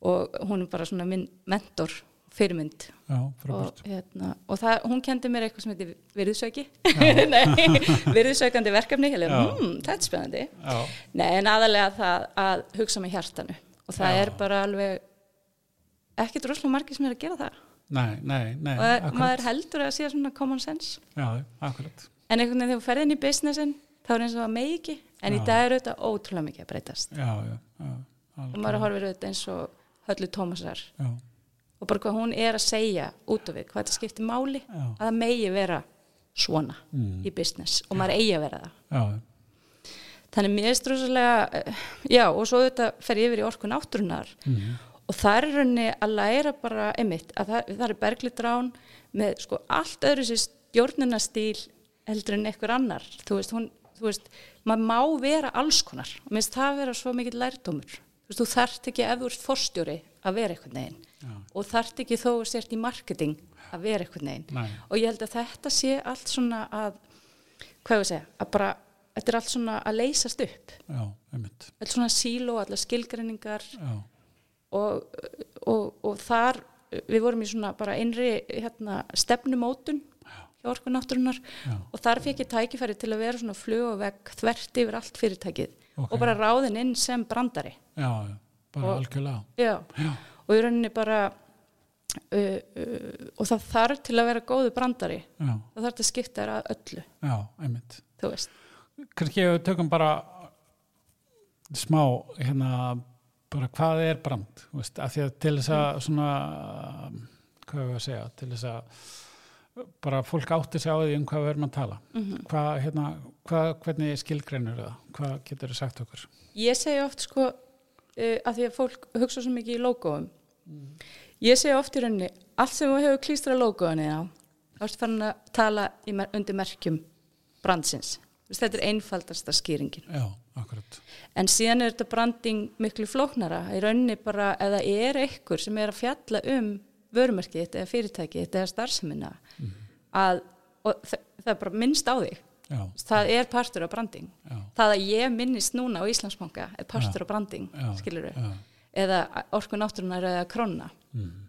Speaker 2: og hún er bara svona minn mentor fyrirmynd
Speaker 1: já, frábært
Speaker 2: og, hérna, og það, hún kendi mér eitthvað sem heitir virðusauki Nei, virðusaukandi verkefni Ég
Speaker 1: Já.
Speaker 2: hefði, hmm, þetta er spennandi
Speaker 1: já,
Speaker 2: Nei, en aðalega það að hugsa með hjartanu og það er bara alveg ekkert droslega margir sem er að gera það
Speaker 1: nei, nei, nei
Speaker 2: og það-
Speaker 1: akkurat,
Speaker 2: maður heldur að sé svona common sense
Speaker 1: já, akkurat
Speaker 2: En einhvern veginn þegar þú ferð inn í businessin þá er eins og það megi ekki en í dag er auðvitað ótrúlega mikið að breytast
Speaker 1: já, já, já, al-
Speaker 2: og maður horfir auðvitað eins og höllu Tómasar
Speaker 1: já,
Speaker 2: og bara hvað hún er að segja út af við hvað þetta skiptir máli
Speaker 1: Já. Mm.
Speaker 2: að það megi vera svona í business og maður eigi að vera það
Speaker 1: já,
Speaker 2: þannig mér er strúsalega eh, já og svo auðvitað fer ég yfir í orku náttúrunar og það er rauninni að læra bara einmitt að það, það er berglitrán með sko allt öðru sér stjórnunastíl heldur en einhver annar þú veist, hún, þú veist maður má vera alls konar og minnst það vera svo mikill lærdómur þú veist, þú þarft ekki ef þú ert forstjóri að vera einhvern veginn og þarft ekki þó að sért í marketing að vera einhvern veginn
Speaker 1: Nei.
Speaker 2: og ég held að þetta sé allt svona að hvað ég að segja, að bara þetta er allt svona að leysast upp
Speaker 1: já, einmitt
Speaker 2: allt svona síló, allar skilgreiningar
Speaker 1: já,
Speaker 2: og, og, og þar við vorum í svona bara innri hérna, stefnumótun hjá orku náttúrunar
Speaker 1: Já.
Speaker 2: og þar fekk ég tækifæri til að vera svona flugavegg þvert yfir allt fyrirtækið
Speaker 1: Ok.
Speaker 2: og bara ráðin inn sem brandari
Speaker 1: já, já, bara algjörlega
Speaker 2: Já.
Speaker 1: já,
Speaker 2: og í rauninni bara uh, uh, og það þarf til að vera góðu brandari
Speaker 1: já,
Speaker 2: það þarf til að skipta þér að öllu
Speaker 1: já, einmitt
Speaker 2: þú veist
Speaker 1: kannski ef við tökum bara smá hérna bara hvað er brand þú veist, af því að til þess
Speaker 2: Mm.
Speaker 1: að svona hvað hefur að segja til þess að bara fólk átti sig á því um hvað við erum að tala
Speaker 2: Mhm.
Speaker 1: hvað, hérna, hvað, hvernig skilgreinur það hvað getur þið sagt okkur
Speaker 2: Ég segi oft sko uh, að því að fólk hugsa svo mikið í logoum ég segi oft í rauninni allt sem þú hefur klístrað logoinni á þá ertu farin að tala í mer undir merkjum brandsins Þú veist, þetta er einfaldasta skýringin
Speaker 1: já, akkurat
Speaker 2: en síðan er þetta branding miklu flóknara í rauninni bara ef það er einhver sem er að fjalla um vörumerkið þitt eða fyrirtækið þitt eða starfsemina að og þa það er bara minnst á þig
Speaker 1: já,
Speaker 2: það er partur af branding
Speaker 1: Já.
Speaker 2: það að ég minnist núna á Íslandsbanka er partur af branding,
Speaker 1: Já.
Speaker 2: skilur við
Speaker 1: Já.
Speaker 2: eða orku náttúrunar eða krona
Speaker 1: Mhm.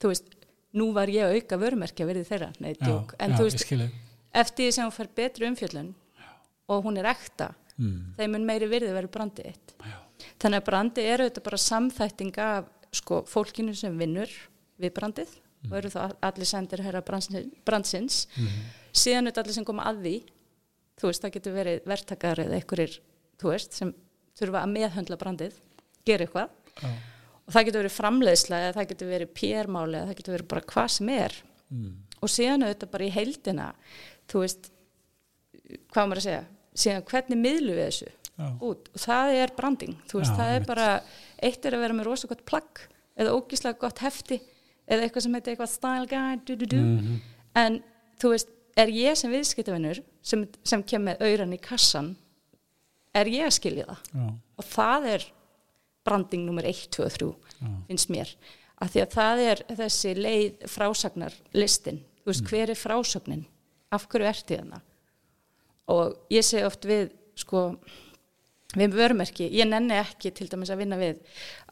Speaker 2: þú veist, nú var ég að auka vörumerkja verið þeirra, nei,
Speaker 1: já,
Speaker 2: djók en
Speaker 1: já,
Speaker 2: þú
Speaker 1: ég
Speaker 2: veist,
Speaker 1: skilji
Speaker 2: eftir því sem hún fær betri umfjöllun og hún er ekta
Speaker 1: Mm.
Speaker 2: þeim mun meiri virði verið brandið eitt
Speaker 1: já,
Speaker 2: þannig að brandi eru þetta bara samþætting af sko, fólkinu sem vinnur við brandið og eru þá allir sendir herra brandsins, brandsins. síðan eru þetta allir sem koma að því þú veist, það getur verið verktakar eða einhverjir, þú veist, sem þurfa að meðhöndla brandið, gera eitthvað
Speaker 1: já,
Speaker 2: og það getur verið framleiðsla eða það getur verið PR-máli eða það getur verið bara hvað sem er
Speaker 1: Mm.
Speaker 2: og síðan auðvitað bara í heildina þú veist, hvað á maður að segja síðan hvernig miðlu við þessu
Speaker 1: já,
Speaker 2: út og það er branding þú veist,
Speaker 1: Já,
Speaker 2: það er
Speaker 1: einmitt.
Speaker 2: bara, eitt er að vera með rosa gott plagg eða ógíslega gott hefti eða eitthvað sem heitir eitthvað style guide du, du, du.
Speaker 1: Mhm.
Speaker 2: en þú veist, er ég sem viðskiptavinnur sem, sem kem með auran í kassan er ég að skilja það
Speaker 1: já,
Speaker 2: og það er branding nummer 1, 2 og 3
Speaker 1: Já.
Speaker 2: finnst mér, af því að það er þessi leið frásagnar listin þú
Speaker 1: Mm.
Speaker 2: veist, hver er frásögnin af hverju ertu þarna og ég segi oft við sko, við vörumerki, ég nenni ekki til dæmis að vinna við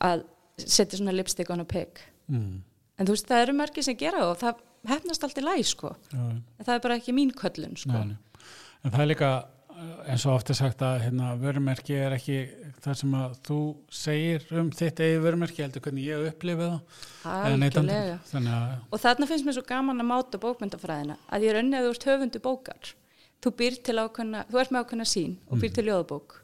Speaker 2: að setja svona lipstick on a pig
Speaker 1: mm.
Speaker 2: en þú veist, það eru merki sem gera það og það hefnast allt í læg, sko
Speaker 1: já.
Speaker 2: en það er bara ekki mín köllun, sko
Speaker 1: Nei, nei. En það er líka eh, eins og ofta sagt að hérna, vörumerki er ekki það sem að þú segir um þitt eigi vörumerki, heldur hvernig ég upplifið það eða neytandi.
Speaker 2: Algjörlega.
Speaker 1: Þannig að,
Speaker 2: og þarna finnst mér svo gaman að máta bókmyndafræðina að ég raunni að þú ert höfundu bókar þú býr til ákveðna, þú ert með ákveðna sín og býr til ljóðbók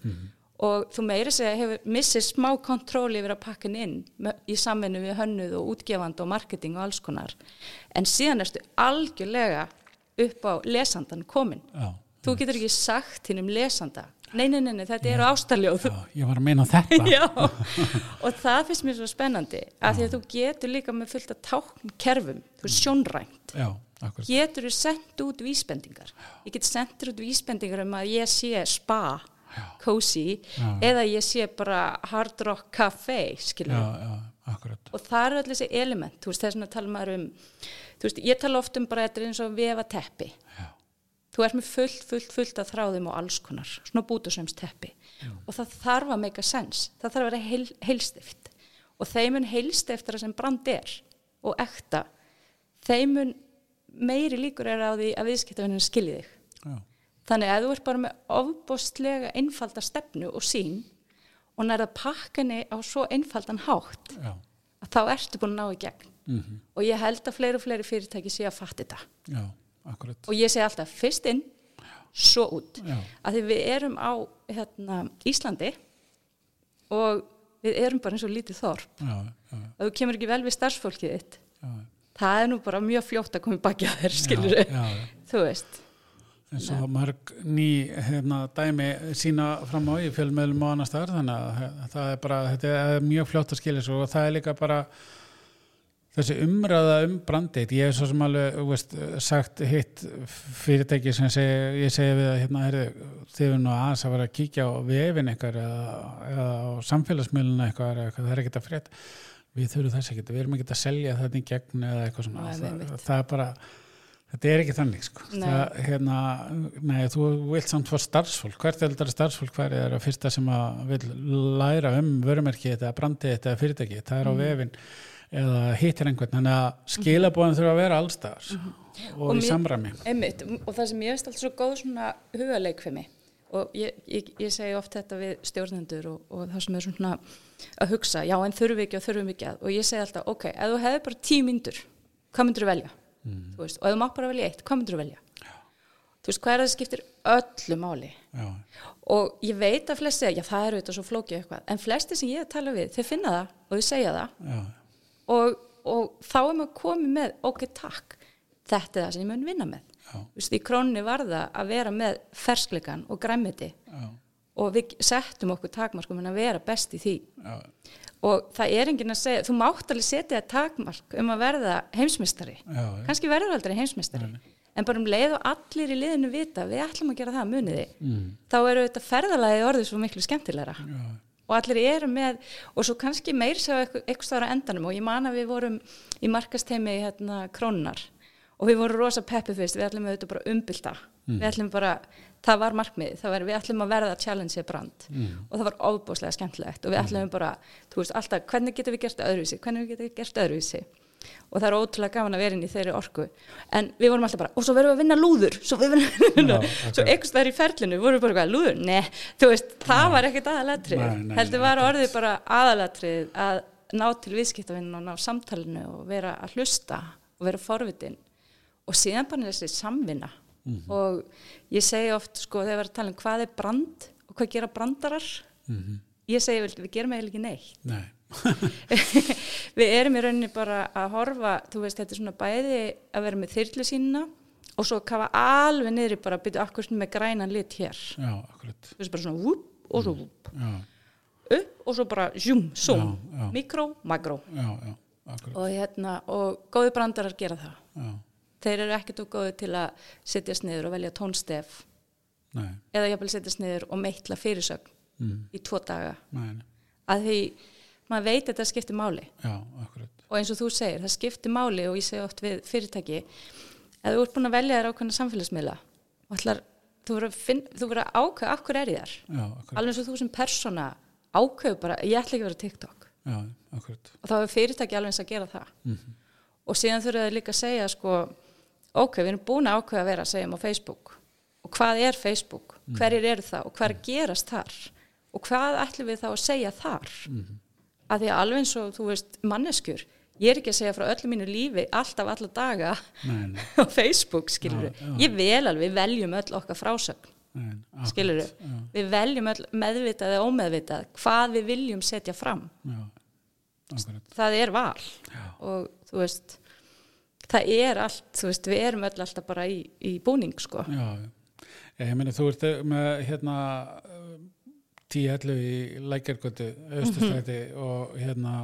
Speaker 2: og þú meiri segja hefur missið smá kontról yfir að pakka henni inn með, í samvinnu við hönnuð og útgefand og marketing og alls konar en síðan ertu algjörlega upp á lesandan komin
Speaker 1: já,
Speaker 2: þú getur ekki sagt hinn um lesanda nei, nei, nei, nei þetta eru ástarljóð
Speaker 1: já, ég var að meina þetta.
Speaker 2: Já, og það finnst mér svo spennandi af því að þú getur líka með fullt að tákn kerfum, þú
Speaker 1: Mm.
Speaker 2: er sjónrænt
Speaker 1: já, akkurat.
Speaker 2: getur þú sendt út vísbendingar ég get sendt þér út vísbendingar um að ég sé spa, cozy
Speaker 1: Já.
Speaker 2: eða ég sé bara hard rock cafe,
Speaker 1: Já,
Speaker 2: skilur
Speaker 1: já, akkurat.
Speaker 2: og það eru allir þessi element, þú veist, þess vegna tala maður um þú veist, ég tala oft um bara þetta er eins og vefa teppi
Speaker 1: Já,
Speaker 2: þú ert með fullt, fullt, fullt að þráðum og alls konar, svona bútusöms teppi og það þarf að make a sense það þarf að vera heil, heilstift og þeimun heilstiftra sem brand er og ekta þeimun meiri líkur er á því að viðskiptavinnin skilji þig
Speaker 1: já,
Speaker 2: þannig að þú ert bara með ofbóstlega einfalda stefnu og sín og nærða pakkanni á svo einfaldan hátt
Speaker 1: já,
Speaker 2: að þá ertu búin að ná í gegn -hmm. og ég held að fleiri og fleiri fyrirtæki sé að fatta þetta
Speaker 1: já, akkurat.
Speaker 2: og ég segi alltaf fyrst inn, svo út
Speaker 1: Já.
Speaker 2: að því við erum á hérna, Íslandi og við erum bara eins og lítið þorp
Speaker 1: Já, já,
Speaker 2: og þú kemur ekki vel við starfsfólkið þitt
Speaker 1: já.
Speaker 2: það er nú bara mjög fljótt að koma í baki að þér skilur
Speaker 1: Já, já, já.
Speaker 2: þú veist
Speaker 1: eins og mörg ný hérna, dæmi sína fram á í fjölmiðlum og annars þar þannig að það er bara, þetta er mjög fljótt að skilja svo og það er líka bara þessi umræða um brandið ég hef svo sem alveg þú veist, sagt hitt fyrirtæki sem seg, ég segi við að hérna, herri, þið er nú aðeins að vera að kíkja á vefin ykkar eða, eða á samfélagsmiðluna ykkar eða eitthvað, það er ekkert að frétt við þurfum þess ekkert, við erum ekkert að selja þetta í gegn eða eitthvað svona
Speaker 2: Nei,
Speaker 1: það,
Speaker 2: einmitt.
Speaker 1: það er bara Þetta er ekki þannig sko.
Speaker 2: Nei.
Speaker 1: Það, hérna, nei, þú vilt samt fór starfsfólk. Hvert eldar starfsfólk hver er að fyrsta sem að vil læra um vörumerki þetta, brandi þetta, fyrirtæki, það er
Speaker 2: Mm.
Speaker 1: á vefin eða hittir einhvern. Þannig að skilabóðin þurfa að vera allstaðar og,
Speaker 2: Mhm. Og
Speaker 1: í
Speaker 2: mér-
Speaker 1: samræmi.
Speaker 2: Einmitt, og það sem ég veist alltaf svo góð svona hugaleikfimi og ég, ég, ég segi oft þetta við stjórnendur og, og það sem er svona að hugsa, já en þurfum við ekki og þurfum við ekki að og ég segi alltaf, ok, ef þú hefði bara tíu myndur, hvað myndur þú velja? Þú Veist, og ef þú mátt bara velja eitt, hvað myndur þú velja? Já. Þú veist, hvað er að það skiptir öllu máli?
Speaker 1: Já,
Speaker 2: Og ég veit að flesti, já það eru þetta svo flókið eitthvað, en flesti sem ég tala við, þau finna það og þau segja það
Speaker 1: já,
Speaker 2: og, og þá er maður komið með ok, takk, þetta er það sem ég mun vinna með
Speaker 1: Já.
Speaker 2: Þú veist, í krónni var það að vera með ferskleikan og græmiti
Speaker 1: já,
Speaker 2: og við settum okkur takmarkum en að vera best í því
Speaker 1: já,
Speaker 2: og það er enginn að segja, þú mátt alveg setja það takmark um að verða heimsmystari
Speaker 1: já, já.
Speaker 2: kannski verður aldrei heimsmystari en bara um leið og allir í liðinu vita við ætlum að gera það muniði mm. þá eru þetta ferðalagið orðið svo miklu skemmtilegra
Speaker 1: já.
Speaker 2: og allir eru með og svo kannski meir sá eitthvað stára endanum og ég man að við vorum í markasteimi hérna krónar og við vorum rosa peppi fyrst, við ætlum auðvitað bara umbylta við ætlum bara, það var markmið það var, við ætlum að verða challenge brand mm. og það var ofbúslega skemmtilegt og við ætlum bara, þú veist, alltaf hvernig getum við gert öðruvísi, hvernig getum við gert öðruvísi og það er ótrúlega gaman að vera inn í þeirri orku en við vorum alltaf bara, og svo verðum við að vinna lúður svo við verðum að vinna lúður svo
Speaker 1: akkurat.
Speaker 2: einhvers vegar í ferlinu, vorum við bara eitthvað lúður nei, þú veist, það var ekkert aðalatrið
Speaker 1: Nei, nei,
Speaker 2: heldur
Speaker 1: nei,
Speaker 2: var orðið bara aðalatrið að ná til viðskiptavinn og ná samtalinu og vera að hlusta og vera forvitin og síðan bara þessi samvinna
Speaker 1: Mhm.
Speaker 2: og ég segi oft sko þegar við erum að tala um hvað er brand og hvað gera brandarar
Speaker 1: Mhm.
Speaker 2: ég segi vel, við gerum eiginlega ekki neitt
Speaker 1: Nei.
Speaker 2: við erum í rauninni bara að horfa þú veist, þetta er svona bæði að vera með þyrlu sína og svo kafa alveg niðri bara að byrja akkur með grænan lit hér þú
Speaker 1: Já, akkurat.
Speaker 2: veist, bara svona vúp og
Speaker 1: Mhm.
Speaker 2: svo vúp
Speaker 1: Já,
Speaker 2: upp og svo bara zoom, zoom,
Speaker 1: Já, já.
Speaker 2: mikró, makró
Speaker 1: já, já, akkurat.
Speaker 2: og hérna, og góði brandarar gera það
Speaker 1: Já,
Speaker 2: þeir eru ekkert og góði til að setjast niður og velja tónstef
Speaker 1: nei,
Speaker 2: eða jafnvel setjast niður og meitla fyrirsögn
Speaker 1: Mm.
Speaker 2: í tvo daga
Speaker 1: nei, nei.
Speaker 2: að því maður veit að þetta skiptir máli
Speaker 1: Já, akkurat.
Speaker 2: og eins og þú segir, það skiptir máli og ég segi oft við fyrirtæki að þú ert búin að velja þér ákveðna samfélagsmiðla og ætlar, þú verður að, finn- þú verður að ákveða af hverju er ég þar
Speaker 1: Já, akkurat.
Speaker 2: alveg eins og þú sem persóna ákveður bara, ég ætla ekki að vera TikTok
Speaker 1: Já, akkurat.
Speaker 2: og þá er fyrirtæki alveg eins að gera það
Speaker 1: Mhm.
Speaker 2: og síðan þurfa þau líka að segja sko, ok, við erum búin að ákveða að vera segjum á Facebook og hvað er Facebook,
Speaker 1: Mhm.
Speaker 2: hverjir eru það og hvað er að gerast þar og hvað ætlum við þá að segja þar
Speaker 1: Mhm.
Speaker 2: að því að alveg eins og þú veist manneskjur, ég er ekki að segja frá öllu mínu lífi alltaf alla daga
Speaker 1: Nei, nei,
Speaker 2: á Facebook, skilur
Speaker 1: Já, já.
Speaker 2: ég vel alveg, við veljum öll okkar frásögn
Speaker 1: nei. Ah, akkurat.
Speaker 2: skilur við veljum öll meðvitað eða ómeðvitað hvað við viljum setja fram
Speaker 1: Já, akkurat.
Speaker 2: það er val
Speaker 1: Já.
Speaker 2: og þú veist það er allt, þú veist, við erum öll alltaf bara í, í búning sko
Speaker 1: Já, já. Ég, ég meina þú ert með hérna tíallu í lækjargötu, austustræti og hérna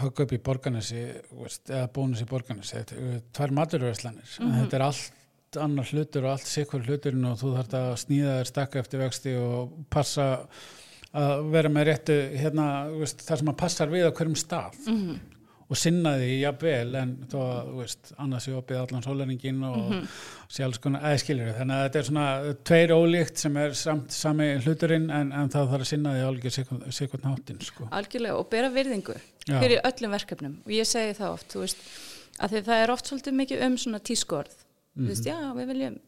Speaker 1: högg upp í borgarnesi þú veist, eða bónus í borgarnesi þetta eru tvær maturverslanir en þetta er allt annar hlutur og allt sikkur hluturinn og þú þarft að sníða þér stakka eftir vexti og passa að vera með réttu hérna, þú veist, þar sem að passar við á hverjum stað og sinna því jafnvel en þó að þú veist, annars ég opið allan sólæringin og mm -hmm. sé alls konar aðskiljur þannig að þetta er svona tveir ólíkt sem er samt sami hluturinn en, en það þarf að sinna því álíkja sikkur náttinn sko.
Speaker 2: algjörlega og bera virðingu
Speaker 1: Já.
Speaker 2: fyrir öllum verkefnum og ég segi það oft, þú veist að því það er oft svolítið mikið um svona tískorð þú
Speaker 1: Mhm.
Speaker 2: veist, já, við viljum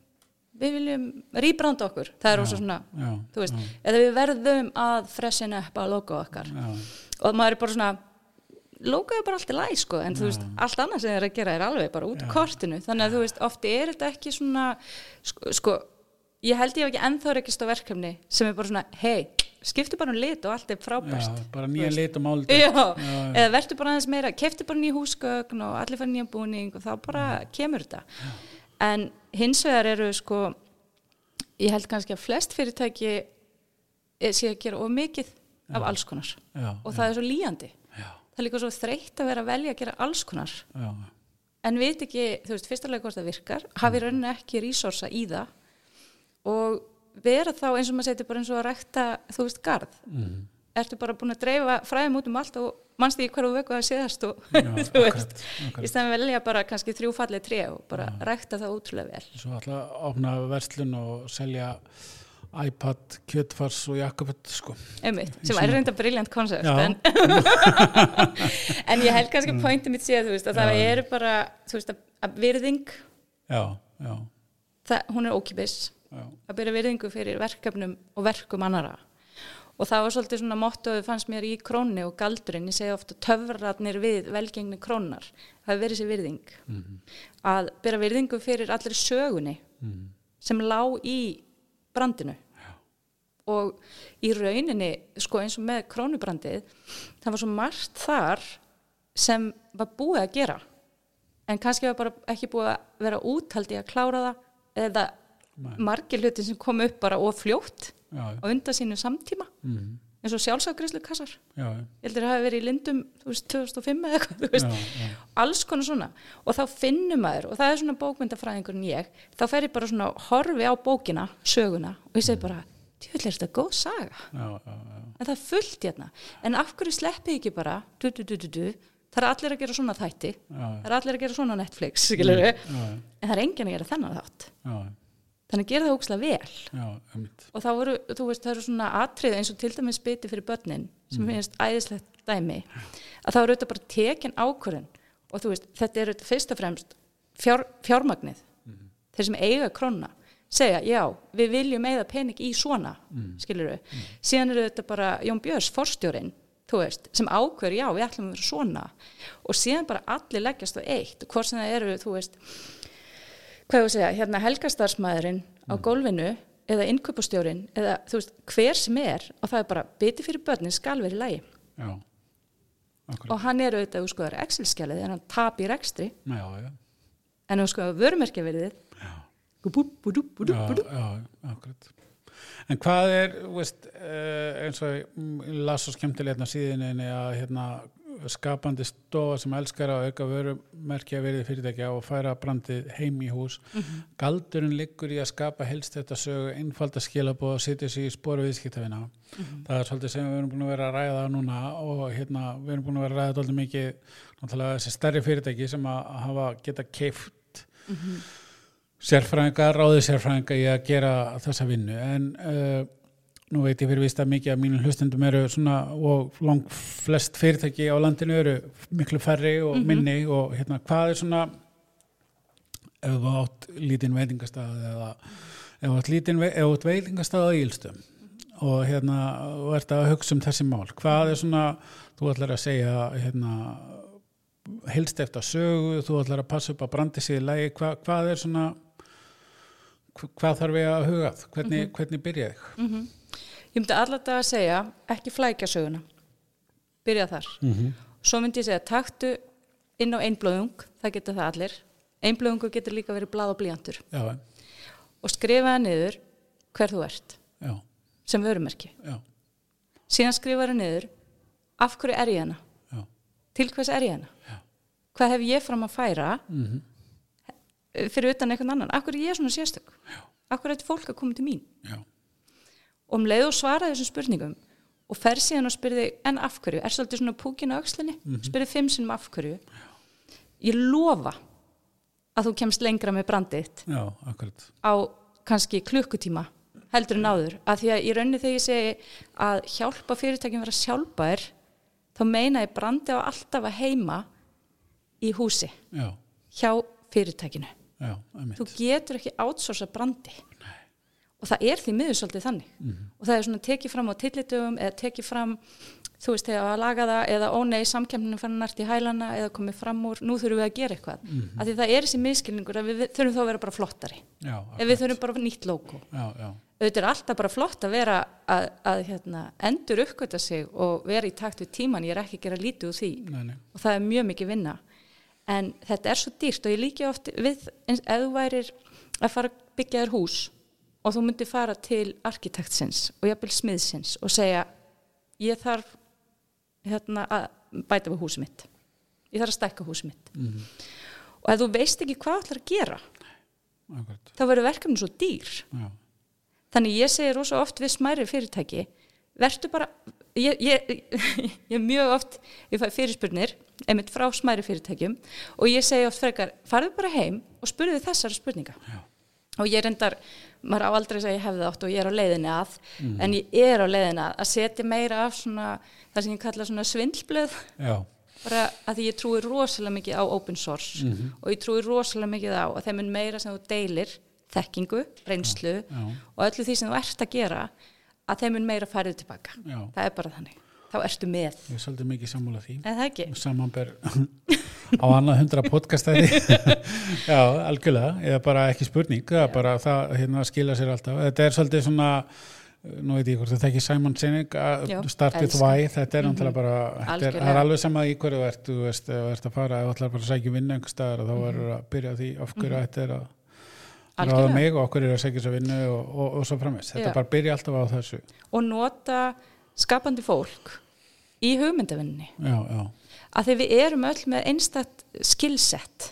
Speaker 2: við viljum rýbranda okkur það er ósa svona,
Speaker 1: já,
Speaker 2: þú veist eða við verðum að freshina upp að logo okkar
Speaker 1: já,
Speaker 2: og maður er bara svona logoðu bara allt í læg sko en þú veist, allt annað sem þeir eru að gera er alveg bara út úr kortinu þannig að þú veist, ofti er þetta ekki svona sko, sko ég held ég hef ekki ennþá rekist á verkefni sem er bara svona, hei, skiptu bara um lit og allt er
Speaker 1: já,
Speaker 2: frábært
Speaker 1: bara nýja lit um og málit
Speaker 2: Já, eða verður bara aðeins meira kefti bara nýja húsgögn og allir fara nýja búning og þá bara kemur þetta en hins vegar eru sko ég held kannski að flest fyrirtæki eh, sé að gera of mikið af alls konar
Speaker 1: já,
Speaker 2: og það er svo líjandi
Speaker 1: já,
Speaker 2: það er líka svo þreytt að vera að velja að gera alls konar
Speaker 1: já,
Speaker 2: en við ekki, þú veist, fyrstulega hvort það virkar
Speaker 1: Mm.
Speaker 2: hafi raunin ekki resursa í það og vera þá eins og maður seti bara eins og að rækta þú veist, garð mm. ertu bara búin að dreifa fræðum út um allt og mannst því hverju vöku að séðast og
Speaker 1: Já,
Speaker 2: þú veist,
Speaker 1: akkurat, akkurat.
Speaker 2: í stæðan velja bara kannski þrjú fallið tré og bara rækta það ótrúlega vel.
Speaker 1: Svo ætla að opna verslun og selja iPad, kjötfars og jakkaböld sko.
Speaker 2: Einmitt, sem er reynda briljant konsept
Speaker 1: Já. Mm.
Speaker 2: en, en ég held kannski pointi mitt séð, þú veist, að það eru bara þú veist, að, að virðing
Speaker 1: Já, já,
Speaker 2: það, hún er ókipis
Speaker 1: já.
Speaker 2: að byrja virðingu fyrir verkefnum og verkum annara og það var svolítið svona mottoðu fannst mér í krónni og galdurinn ég segi ofta töfrarnir við velgengni krónar það hefur verið sér virðing að byrja virðingu fyrir allir sögunni sem lá í brandinu og í rauninni sko eins og með krónubrandið það var svo margt þar sem var búið að gera en kannski var bara ekki búið að vera úthaldi að klára það eða margir hluti sem kom upp bara of fljótt
Speaker 1: Já,
Speaker 2: á undan sínu samtíma
Speaker 1: mm,
Speaker 2: eins og sjálfsafgriðslu kassar
Speaker 1: já, já,
Speaker 2: ég heldur að hafa verið í lindum þú veist, 2005 eða eitthvað þú veist.
Speaker 1: já, já.
Speaker 2: alls konar svona og þá finnum maður og það er svona bókmyndafræðingurinn ég þá fer ég bara svona horfi á bókina söguna og ég segi bara djúvel er þetta góð saga
Speaker 1: já, já, já.
Speaker 2: en það er fullt hérna en af hverju sleppið þið ekki bara du, du, du, du, du. það er allir að gera svona þætti
Speaker 1: Já,
Speaker 2: það er allir að gera svona Netflix skilurðu.
Speaker 1: já,
Speaker 2: en það er enginn að gera þennan þátt
Speaker 1: já,
Speaker 2: þannig að gera það ókslega vel
Speaker 1: já, einmitt.
Speaker 2: og þá voru, þú veist, það eru svona atrið eins og til dæmis biti fyrir börnin sem finnst æðislegt dæmi að þá eru þetta bara tekin ákvörðun og þú veist, þetta eru fyrst og fremst fjár, fjármagnið þeir sem eiga krónna segja, já, við viljum eigða pening í svona mm. skilur við, síðan eru þetta bara Jón Björs, forstjórin þú veist, sem ákveður, já, við ætlum að vera svona og síðan bara allir leggjast á eitt, hvort sem það eru, þú veist hvað ég að segja, hérna helgastarsmaðurinn á gólfinu eða innköpustjórin eða þú veist, hver sem er og það er bara biti fyrir börnin skal verið í lagi
Speaker 1: Já, akkurat.
Speaker 2: og hann er auðvitað úr skoðar Excel-skjalið en hann tap í rekstri
Speaker 1: Já, já,
Speaker 2: en úr skoðar vörumerkjavirðið
Speaker 1: já, já, akkurat. En hvað er, þú veist, eh, eins og ég mm, ég las svo skemmtilega hérna síðinni að hérna skapandi stofa sem elskar að auka vörumerkja verið fyrirtækja og færa brandið heim í hús. Galdurinn liggur í að skapa helst þetta sögu einfalda skilabóð og setja sig í spóra viðskiptavina. Það er svolítið sem við erum búin að vera að ræða núna og hérna við erum búin að vera að ræða dálítið mikið náttúrulega þessi stærri fyrirtæki sem að hafa geta keift sérfræðinga, ráði sérfræðinga í að gera þessa vinnu en uh, nú veit ég fyrir vist að mikið að mínum hlustendum eru svona og lang flest fyrirtæki á landinu eru miklu færri og minni og hérna hvað er svona ef þú átt lítinn veitingastað eða ef þú átt lítinn ve- ef þú átt veitingastað á Ílstum og hérna þú ert að hugsa um þessi mál hvað er svona, þú ætlar að segja hérna helst eftir sögu, þú ætlar að passa upp að brandi sig í lagi, Hva, hvað er svona hva- hvað þarf ég að huga að? hvernig,
Speaker 2: Mhm.
Speaker 1: hvernig byrja þig
Speaker 2: ég myndi allar dag að segja ekki flækja söguna byrja þar svo myndi ég segja taktu inn á einblöðung það geta það allir einblöðungu getur líka verið blað og blíjantur
Speaker 1: já,
Speaker 2: og skrifaði niður hver þú ert
Speaker 1: já,
Speaker 2: sem vörumerki
Speaker 1: já,
Speaker 2: síðan skrifaði niður af hverju er ég hérna? hana,
Speaker 1: já,
Speaker 2: til hvers er ég hana
Speaker 1: Já.
Speaker 2: hvað hef ég fram að færa eh,
Speaker 1: Mhm.
Speaker 2: fyrir utan einhvern annan af hverju er ég svona sérstök af hverju er þetta fólk að koma til mín
Speaker 1: já,
Speaker 2: og um leið og svaraði þessum spurningum og fer síðan og spyrði en af hverju er svolítið svona púkin á öxlinni
Speaker 1: Mhm.
Speaker 2: spyrði fimm sinnum af hverju ég lofa að þú kemst lengra með brandið þitt
Speaker 1: já, akkurat
Speaker 2: á kannski klukkutíma heldur
Speaker 1: Mm.
Speaker 2: en áður, að því að í raunni þegar ég segi að hjálpa fyrirtækjum vera sjálfbær, þá meina ég brandi á alltaf að heima í húsi,
Speaker 1: já,
Speaker 2: hjá fyrirtækinu
Speaker 1: já, einmitt
Speaker 2: þú getur ekki outsourca brandi Nei. og það er því miður svolítið þannig
Speaker 1: Mhm.
Speaker 2: og það er svona tekið fram á tillitöfum eða tekið fram, þú veist, þegar að laga það eða ó nei, samkemninu fann nært í hælana eða komið fram úr, nú þurfum við að gera eitthvað
Speaker 1: Mhm.
Speaker 2: af því það er þessi miskilningur að við við þurfum þá að vera bara flottari
Speaker 1: já,
Speaker 2: ef
Speaker 1: akkurat.
Speaker 2: við þurfum bara nýtt logo
Speaker 1: já, já,
Speaker 2: auðvitað er alltaf bara flott að vera að, að hérna, endur uppgöta sig og vera í takt við tíman, ég er ekki að gera lítið úr því
Speaker 1: nei, nei
Speaker 2: og það er mjög mikið vinna en þetta er svo dýrt og ég líki oft við eins ef þú værir að fara að byggja þér hús og þú myndir fara til arkitektsins og jafnvel smiðsins og segja ég þarf hérna, að bæta við húsið mitt ég þarf að stækka húsið mitt og ef þú veist ekki hvað þú ætlar að gera
Speaker 1: akkurat,
Speaker 2: þá verður verkefni svo dýr
Speaker 1: já,
Speaker 2: Þannig ég segir rosa oft við smæri fyrirtæki, verður bara, ég, ég, ég, ég mjög oft, ég fæ fyrirspurnir einmitt frá smæri fyrirtækjum og ég segi oft frekar, farðu bara heim og spurðu þessara spurninga
Speaker 1: Já.
Speaker 2: og ég reyndar, maður á aldrei að segja ég hefði átt og ég er á leiðinni að en ég er á leiðinni að, að setja meira af svona, það sem ég kalla svona svindlblöð
Speaker 1: Já.
Speaker 2: bara að því ég trúi rosalega mikið á open source
Speaker 1: Mhm.
Speaker 2: og ég trúi rosalega mikið á að þeim er meira sem þú deilir þekkingu, reynslu
Speaker 1: Já.
Speaker 2: og öllu því sem þú ert að gera að þeim er meira færið tilbaka
Speaker 1: Já.
Speaker 2: það er bara þannig, þá ertu með
Speaker 1: Ég er svolítið mikið sammála því.
Speaker 2: eða það ekki,
Speaker 1: Samanber á annað hundra podcastæði. Já, algjörlega. Eða bara ekki spurning. Það er bara það hérna skila sér alltaf. Þetta er svolítið svona, nú veit ég hvort það þekki Simon Sinek,
Speaker 2: Já,
Speaker 1: startið
Speaker 2: elska. Mhm.
Speaker 1: væð. Þetta er náttúrulega bara, þetta er, það er
Speaker 2: Algjörlega.
Speaker 1: alveg sama í hverju þú ert, þú veist, ef þú ert að fara, ef þú ætlar bara að sækja um vinnu einhver staðar
Speaker 2: Mhm.
Speaker 1: og þá verður að byrja á því af hverju þetta er að ráða
Speaker 2: Algjörlega.
Speaker 1: mig og okkur er að segja svo vinnu og, og, og svo framvist. Þetta
Speaker 2: Já.
Speaker 1: bara byrja alltaf á þessu.
Speaker 2: og nota skapandi fólk í hugmyndavinninni
Speaker 1: Já, já.
Speaker 2: að því við erum öll með einstakt skillset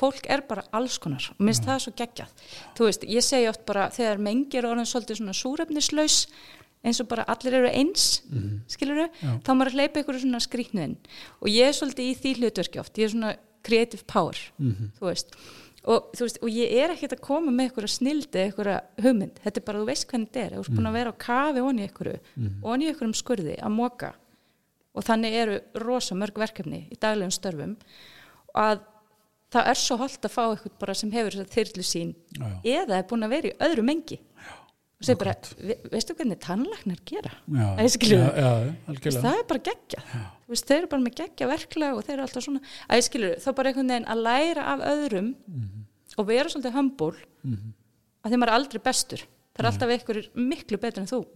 Speaker 2: fólk er bara alls konar og minnst það svo geggjað þú veist, ég segi oft bara þegar mengi er orðin svolítið svona súrefnislaus eins og bara allir eru eins mm
Speaker 1: Já.
Speaker 2: þá maður hleypa ykkur svona skrýtnuðin og ég er svolítið í því hlutverki oft ég er svona creative power þú veist Og, þú veist, og ég er ekkert að koma með einhverja snildi einhverja hugmynd, þetta er bara þú veist hvernig þetta er þú ert búin að vera á kafi onni einhverju onni einhverjum skurði að moka og þannig eru rosa mörg verkefni í daglegum störfum að það er svo holdt að fá eitthvað bara sem hefur þess að þyrlu sín
Speaker 1: Já.
Speaker 2: eða er búin að vera í öðru mengi já, og segir bara, "Ve- veistu hvernig tannlagnar gera
Speaker 1: Já,
Speaker 2: Æ, skilurðu?
Speaker 1: já, já, algjörlega.
Speaker 2: það er bara geggja veist, þeir eru bara með geggja verklega og þeir eru alltaf svona að ég skilur, þá bara einhvern veginn að læra af öðrum og vera svolítið humble að þeim er aldrei bestur það er alltaf einhverjir miklu betur en þú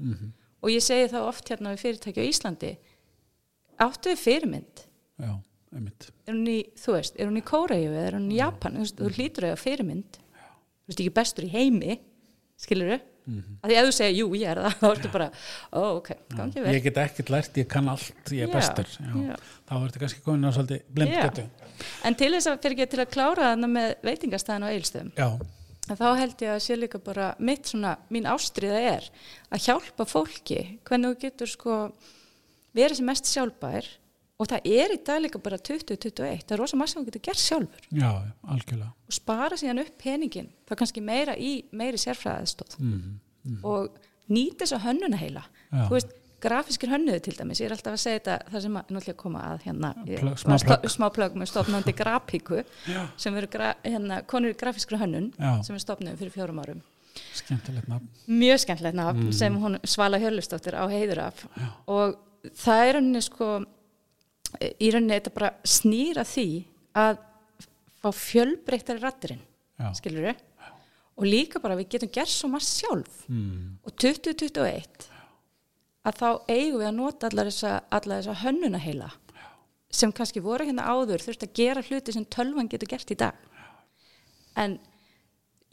Speaker 2: og ég segi það oft hérna við fyrirtæki á Íslandi áttu við fyrirmynd
Speaker 1: Já, einmitt.
Speaker 2: er hún í, þú veist, er hún í Kóreju eða er hún í Japan, þú, veist, þú hlýtur að eiga fyrirmynd þú veist ekki bestur í heimi skilur þau? að því ef þú segir, jú, ég er það, þá ertu bara ó, ok, gangi vel
Speaker 1: Ég get ekkert lært, ég kann allt, ég er
Speaker 2: Já,
Speaker 1: bestur. Já.
Speaker 2: já.
Speaker 1: Þá ertu kannski komin á svolítið blind
Speaker 2: Já.
Speaker 1: getu.
Speaker 2: En til þess að fyrir ekki til að klára þarna með veitingastæðan og eilstöðum
Speaker 1: Já,
Speaker 2: að þá held ég að sé líka bara mitt svona, mín ástriða er að hjálpa fólki hvernig þú getur sko verið sem mest sjálfbær og það er í dag líka bara 2021 það er rosa maður sem þú getur gert sjálfur
Speaker 1: já, algjörlega.
Speaker 2: og spara síðan upp peningin þá kannski meira í meiri sérfræðastóð
Speaker 1: Mm.
Speaker 2: og nýta þess að hönnuna heila
Speaker 1: Já.
Speaker 2: þú veist, grafískir hönnuði til dæmis ég er alltaf að segja þetta, það sem að, nú ætlum ég að koma að hérna, ég-
Speaker 1: Plögg, smá
Speaker 2: að sto-
Speaker 1: plögg.
Speaker 2: smá plögg með stofnandi grafíku
Speaker 1: Já.
Speaker 2: sem eru gra, hérna, konur í grafískri hönnun
Speaker 1: Já.
Speaker 2: sem við stofnum fyrir fjórum árum
Speaker 1: Skemmtilegt nafn.
Speaker 2: mjög skemmtilegt
Speaker 1: Mm.
Speaker 2: nafn sem hún Svala Hjörlustóttir á heiður af og það er henni sko í rauninni þetta bara snýra því að fá fjölbreyttari rattirinn
Speaker 1: Já.
Speaker 2: skilur við og líka bara við getum gert svo margt sjálf
Speaker 1: Mm.
Speaker 2: og 2021 að þá eigum við að nota allar þessa, allar þessa hönnuna heila sem kannski voru hérna áður þurft að gera hluti sem tölvan getur gert í dag en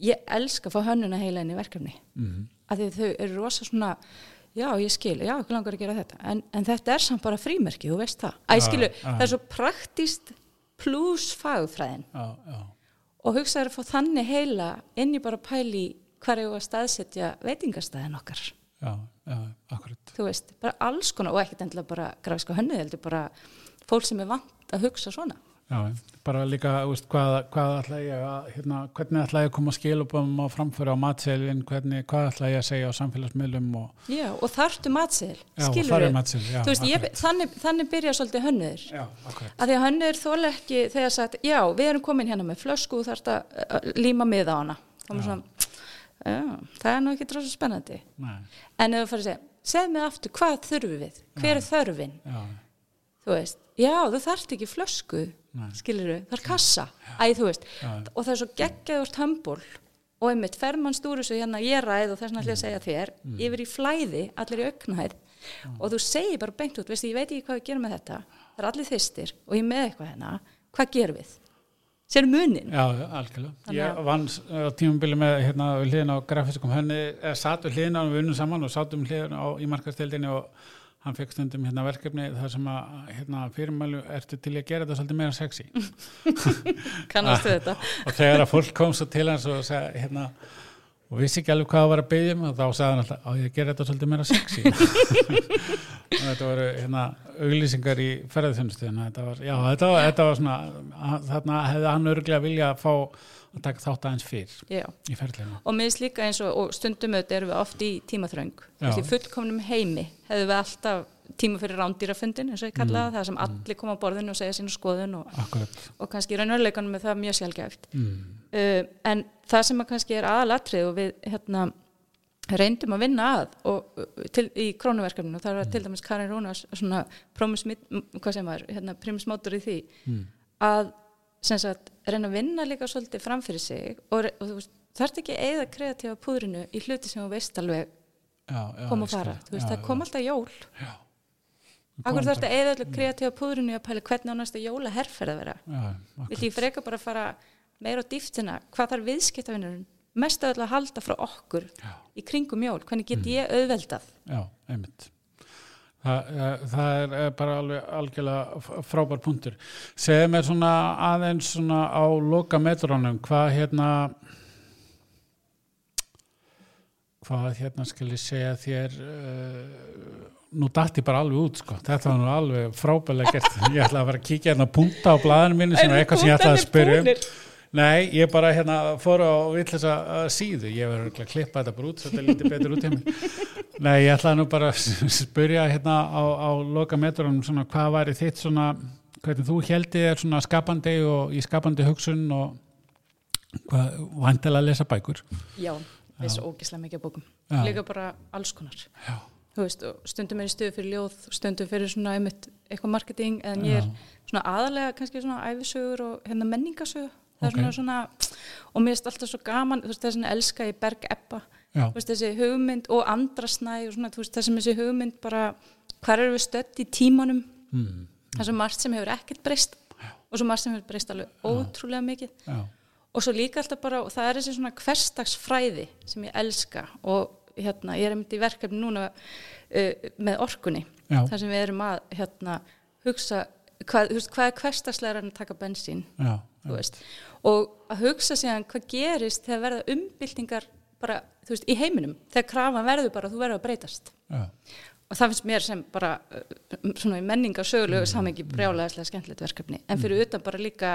Speaker 2: ég elska að fá hönnuna heila inn í verkefni
Speaker 1: Mhm.
Speaker 2: mm. að því þau eru rosa svona já ég skil, já ekki langar að gera þetta en, en þetta er samt bara frímerki, þú veist það að ég
Speaker 1: Já,
Speaker 2: skilu,
Speaker 1: já.
Speaker 2: það er svo praktíst pluss fagfræðin
Speaker 1: Já, já,
Speaker 2: og hugsaður að fá þannig heila inn í bara pæli hvar ég var að staðsetja veitingastæðin okkar
Speaker 1: já, já, akkurat.
Speaker 2: þú veist, bara alls konar og ekkert endilega bara grafiska hönnuð, heldur bara fólk sem er vant að hugsa svona
Speaker 1: Já, bara líka, þú veist, hvað, hvað ætla ég að, hérna, hvernig ætla ég að koma skilubum á framföru á matseilin, hvernig, hvað ætla ég að segja á samfélagsmiðlum og,
Speaker 2: Já, og þarftu matseðil,
Speaker 1: Já, og
Speaker 2: skilur
Speaker 1: þar er matseðill, já,
Speaker 2: þú veist, ég,
Speaker 1: akkurat.
Speaker 2: þannig, þannig byrja svolítið hönnuður
Speaker 1: já, akkurat.
Speaker 2: að því að hönnuður þóla ekki þegar sagt, já, við erum komin hérna með flösku og þarft að að líma miða á hana þá er maður svona, já, það er nú ekki dróðsum spennandi
Speaker 1: Nei,
Speaker 2: en ef þú farið að segja, segð mig aftur, hvað þurfum við hver er þörfin,
Speaker 1: já,
Speaker 2: þú veist já, þú þarft ekki flösku
Speaker 1: Nei.
Speaker 2: skilur það er kassa, æ, þú veist og það er svo geggjaður tömból og einmitt fer mann stúru svo hérna ég ræð og þess vegna ætla ég
Speaker 1: Mm.
Speaker 2: að segja þér yfir í flæði, allir í augnahæð og þú segir bara beint út, veist ég veit ekki hvað við gerum með þetta, það er allir þistir og ég er með eitthvað hérna, hvað gerum við sér munin,
Speaker 1: já, algjörlega.
Speaker 2: Þannig
Speaker 1: Ég
Speaker 2: að-
Speaker 1: vann á tímabili með, hérna, við hliðin á grafiskum henni, eða satt við hliðin á við unnum saman og sátum hliðin á í markastildinni og hann fekk stundum hérna verkefni þar sem að, hérna, fyrirmælu ertu til í að gera þetta svolítið meira sexy.
Speaker 2: kannastu þetta
Speaker 1: og þegar að fólk kom svo til hans og sagði, hérna, og vissi ekki alveg hvað það var að byggja mig og þá sagði hann alltaf, á ég að gera þetta svolítið meira sexy og þetta voru hérna auglýsingar í ferðarþjónustu þannig að þetta var, já, þetta var, þetta var svona að- þarna hefði hann örgulega vilja að fá að taka þátt aðeins fyrr
Speaker 2: já.
Speaker 1: í ferðlinu
Speaker 2: og mér finnst líka eins og, og stundum auðvitað erum við oft í tímaþröng
Speaker 1: Já.
Speaker 2: í fullkomnum heimi hefðu við alltaf tíma fyrir rándýrafundin eins og ég kallaði það, það sem allir koma á borðinu og segja sína skoðun og,
Speaker 1: akkurat
Speaker 2: og kannski raunveruleikanum er það mjög sjálfgæft
Speaker 1: mm.
Speaker 2: uh, en það sem að kannski er aðalatrið og við hérna reyndum að vinna að og, uh, til, í krónuverkefninu og það var til dæmis Karin Rúnas svona promis, mid- m- hvað sem var, hérna primusmátur í því
Speaker 1: mm.
Speaker 2: að sem sagt reyna að vinna líka svolítið fram fyrir sig og, re- og þú veist, þarft ekki að eyða kreatífa púðrinu í hluti sem þú veist alveg
Speaker 1: já, já, ég
Speaker 2: koma og fara,
Speaker 1: skil.
Speaker 2: þú veist,
Speaker 1: Já,
Speaker 2: það kom alltaf jól
Speaker 1: já, já.
Speaker 2: Akkur þarft að eyða allir kreatífa púðrinu í að pæla hvernig á næsta jóla herferð að vera
Speaker 1: já,
Speaker 2: Vil
Speaker 1: Mm. akkurat.
Speaker 2: ég freka bara að fara meira á dýftina, hvað þarf viðskiptavinnurinn mest að öll að halda frá okkur
Speaker 1: Já.
Speaker 2: í kringum jól, hvernig
Speaker 1: Mm.
Speaker 2: get ég auðveldað?
Speaker 1: Já, einmitt. Það, það- það er eh, bara alveg algjörlega f- frábær punktur. Segðu mér svona aðeins svona á loka metrónum, hvað hérna hvað hérna skal ég segja þér uh, nú datt ég bara alveg út sko, þetta var nú alveg frábælega gert, ég ætla að vera að kíkja hérna á punta á blaðinu mínu sem er eitthvað sem ég ætla að spyrja um Nei, ég bara hérna fór á villisa uh, síðu, ég verður örugglega að klippa þetta bara út svo þetta lítið betur út hjá mig. Nei, ég ætlaði nú bara að s- spyrja hérna á, á loka metrunum svona hvað væri þitt svona, hvernig þú heldi þér svona skapandi og í skapandi hugsun og hvað, vandilega að lesa bækur.
Speaker 2: Já, við svo ógislega mikið af bókum.
Speaker 1: Já.
Speaker 2: Líka bara alls konar.
Speaker 1: Já,
Speaker 2: Þú veist, og stundum er í stöðu fyrir ljóð, stundum fyrir svona einmitt eitthvað marketing, en ég er svona aðalega kannski svona æfisögur og hérna menningasögur. Það er
Speaker 1: Ok.
Speaker 2: svona svona, og mér er alltaf svo gaman, þú veist, það er svona elska í Berg Ebba.
Speaker 1: já,
Speaker 2: þú veist, þessi hugmynd og andrasnæ og svona, þú veist, það sem þessi hugmynd bara, hvar eru við stödd í tímanum
Speaker 1: mm,
Speaker 2: það er svo margt sem hefur ekkert breyst og svo margt sem hefur breyst alveg ótrúlega mikið
Speaker 1: já,
Speaker 2: og svo líka alltaf bara, og það er þessi svona hverstagsfræði sem ég elska og hérna, ég er einmitt í verkefni núna uh, með orkunni
Speaker 1: Já.
Speaker 2: þar sem við erum að, hérna, hugsa hvað, þú veist, hvað er hverstagslegar en að taka bensín
Speaker 1: já,
Speaker 2: þú veist, og að hugsa síðan hvað gerist þegar verða umbyltingar bara, þú veist, í heiminum þegar krafan verður bara, að þú verður að breytast
Speaker 1: já,
Speaker 2: og það finnst mér sem bara uh, svona í menninga
Speaker 1: Mm.
Speaker 2: sögulegu samengi brjálæðislega skemmtilegt verkefni, en fyrir utan bara líka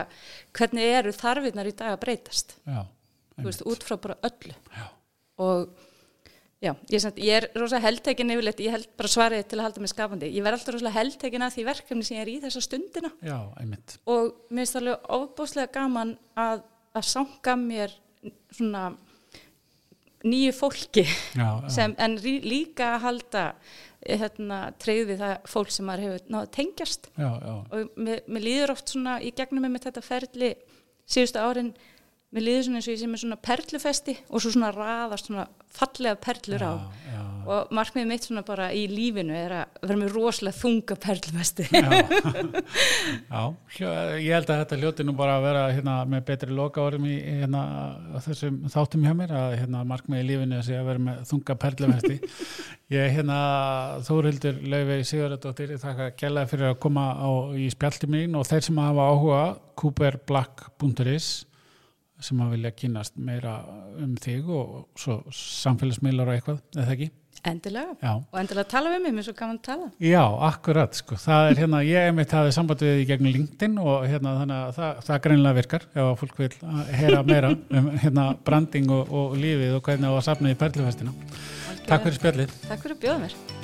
Speaker 2: hvernig eru þarfinnar í dag að breytast,
Speaker 1: já,
Speaker 2: þú veist, út frá bara öllu
Speaker 1: já,
Speaker 2: og já, ég, samt, ég er rosa heldtekin yfirleitt, ég held bara svarið til að halda mig skapandi ég verð alltaf rosa heldtekin að því verkefni sem ég er í þessa stundina
Speaker 1: já, einmitt,
Speaker 2: og mér finnst alveg ofbúslega gaman að, að sanga mér svona nýju fólki
Speaker 1: já, já,
Speaker 2: sem, en rí, líka að halda eh, hérna, treyð við það fólk sem maður hefur náð að tengjast
Speaker 1: já, já,
Speaker 2: og mér, mér líður oft svona í gegnum með þetta ferli síðustu árin mér líður svona eins og ég sem er svona perlufesti og svo svona raðast svona fallega perlur á
Speaker 1: já,
Speaker 2: og markmið mitt svona bara í lífinu er að vera með rosalega þunga perlufesti
Speaker 1: Já, hljó, ég held að þetta hljóti nú bara að vera hérna, með betri loka orðum í hérna, þessum þáttum hjá mér að hérna, markmið í lífinu sé að vera með þunga perlumhesti. Ég hérna Þórhildur Laufey Sigurðardóttir ég þakka gælaði fyrir að koma á, í spjaldi mín og þeir sem hafa áhuga cooperblack.is sem að vilja kynast meira um þig og svo samfélagsmiðlar og eitthvað, eða ekki?
Speaker 2: endilega
Speaker 1: Já.
Speaker 2: og endilega tala við mig, mér er svo gaman að tala
Speaker 1: Já, akkurat, sko, það er hérna, ég einmitt hafið samband við í gegnum LinkedIn og hérna þannig að það, það greinilega virkar ef að fólk vil að heyra meira um hérna branding og, og lífið og hvernig á að safna í perlufestina. Takk fyrir spjallið.
Speaker 2: Takk fyrir að bjóða mér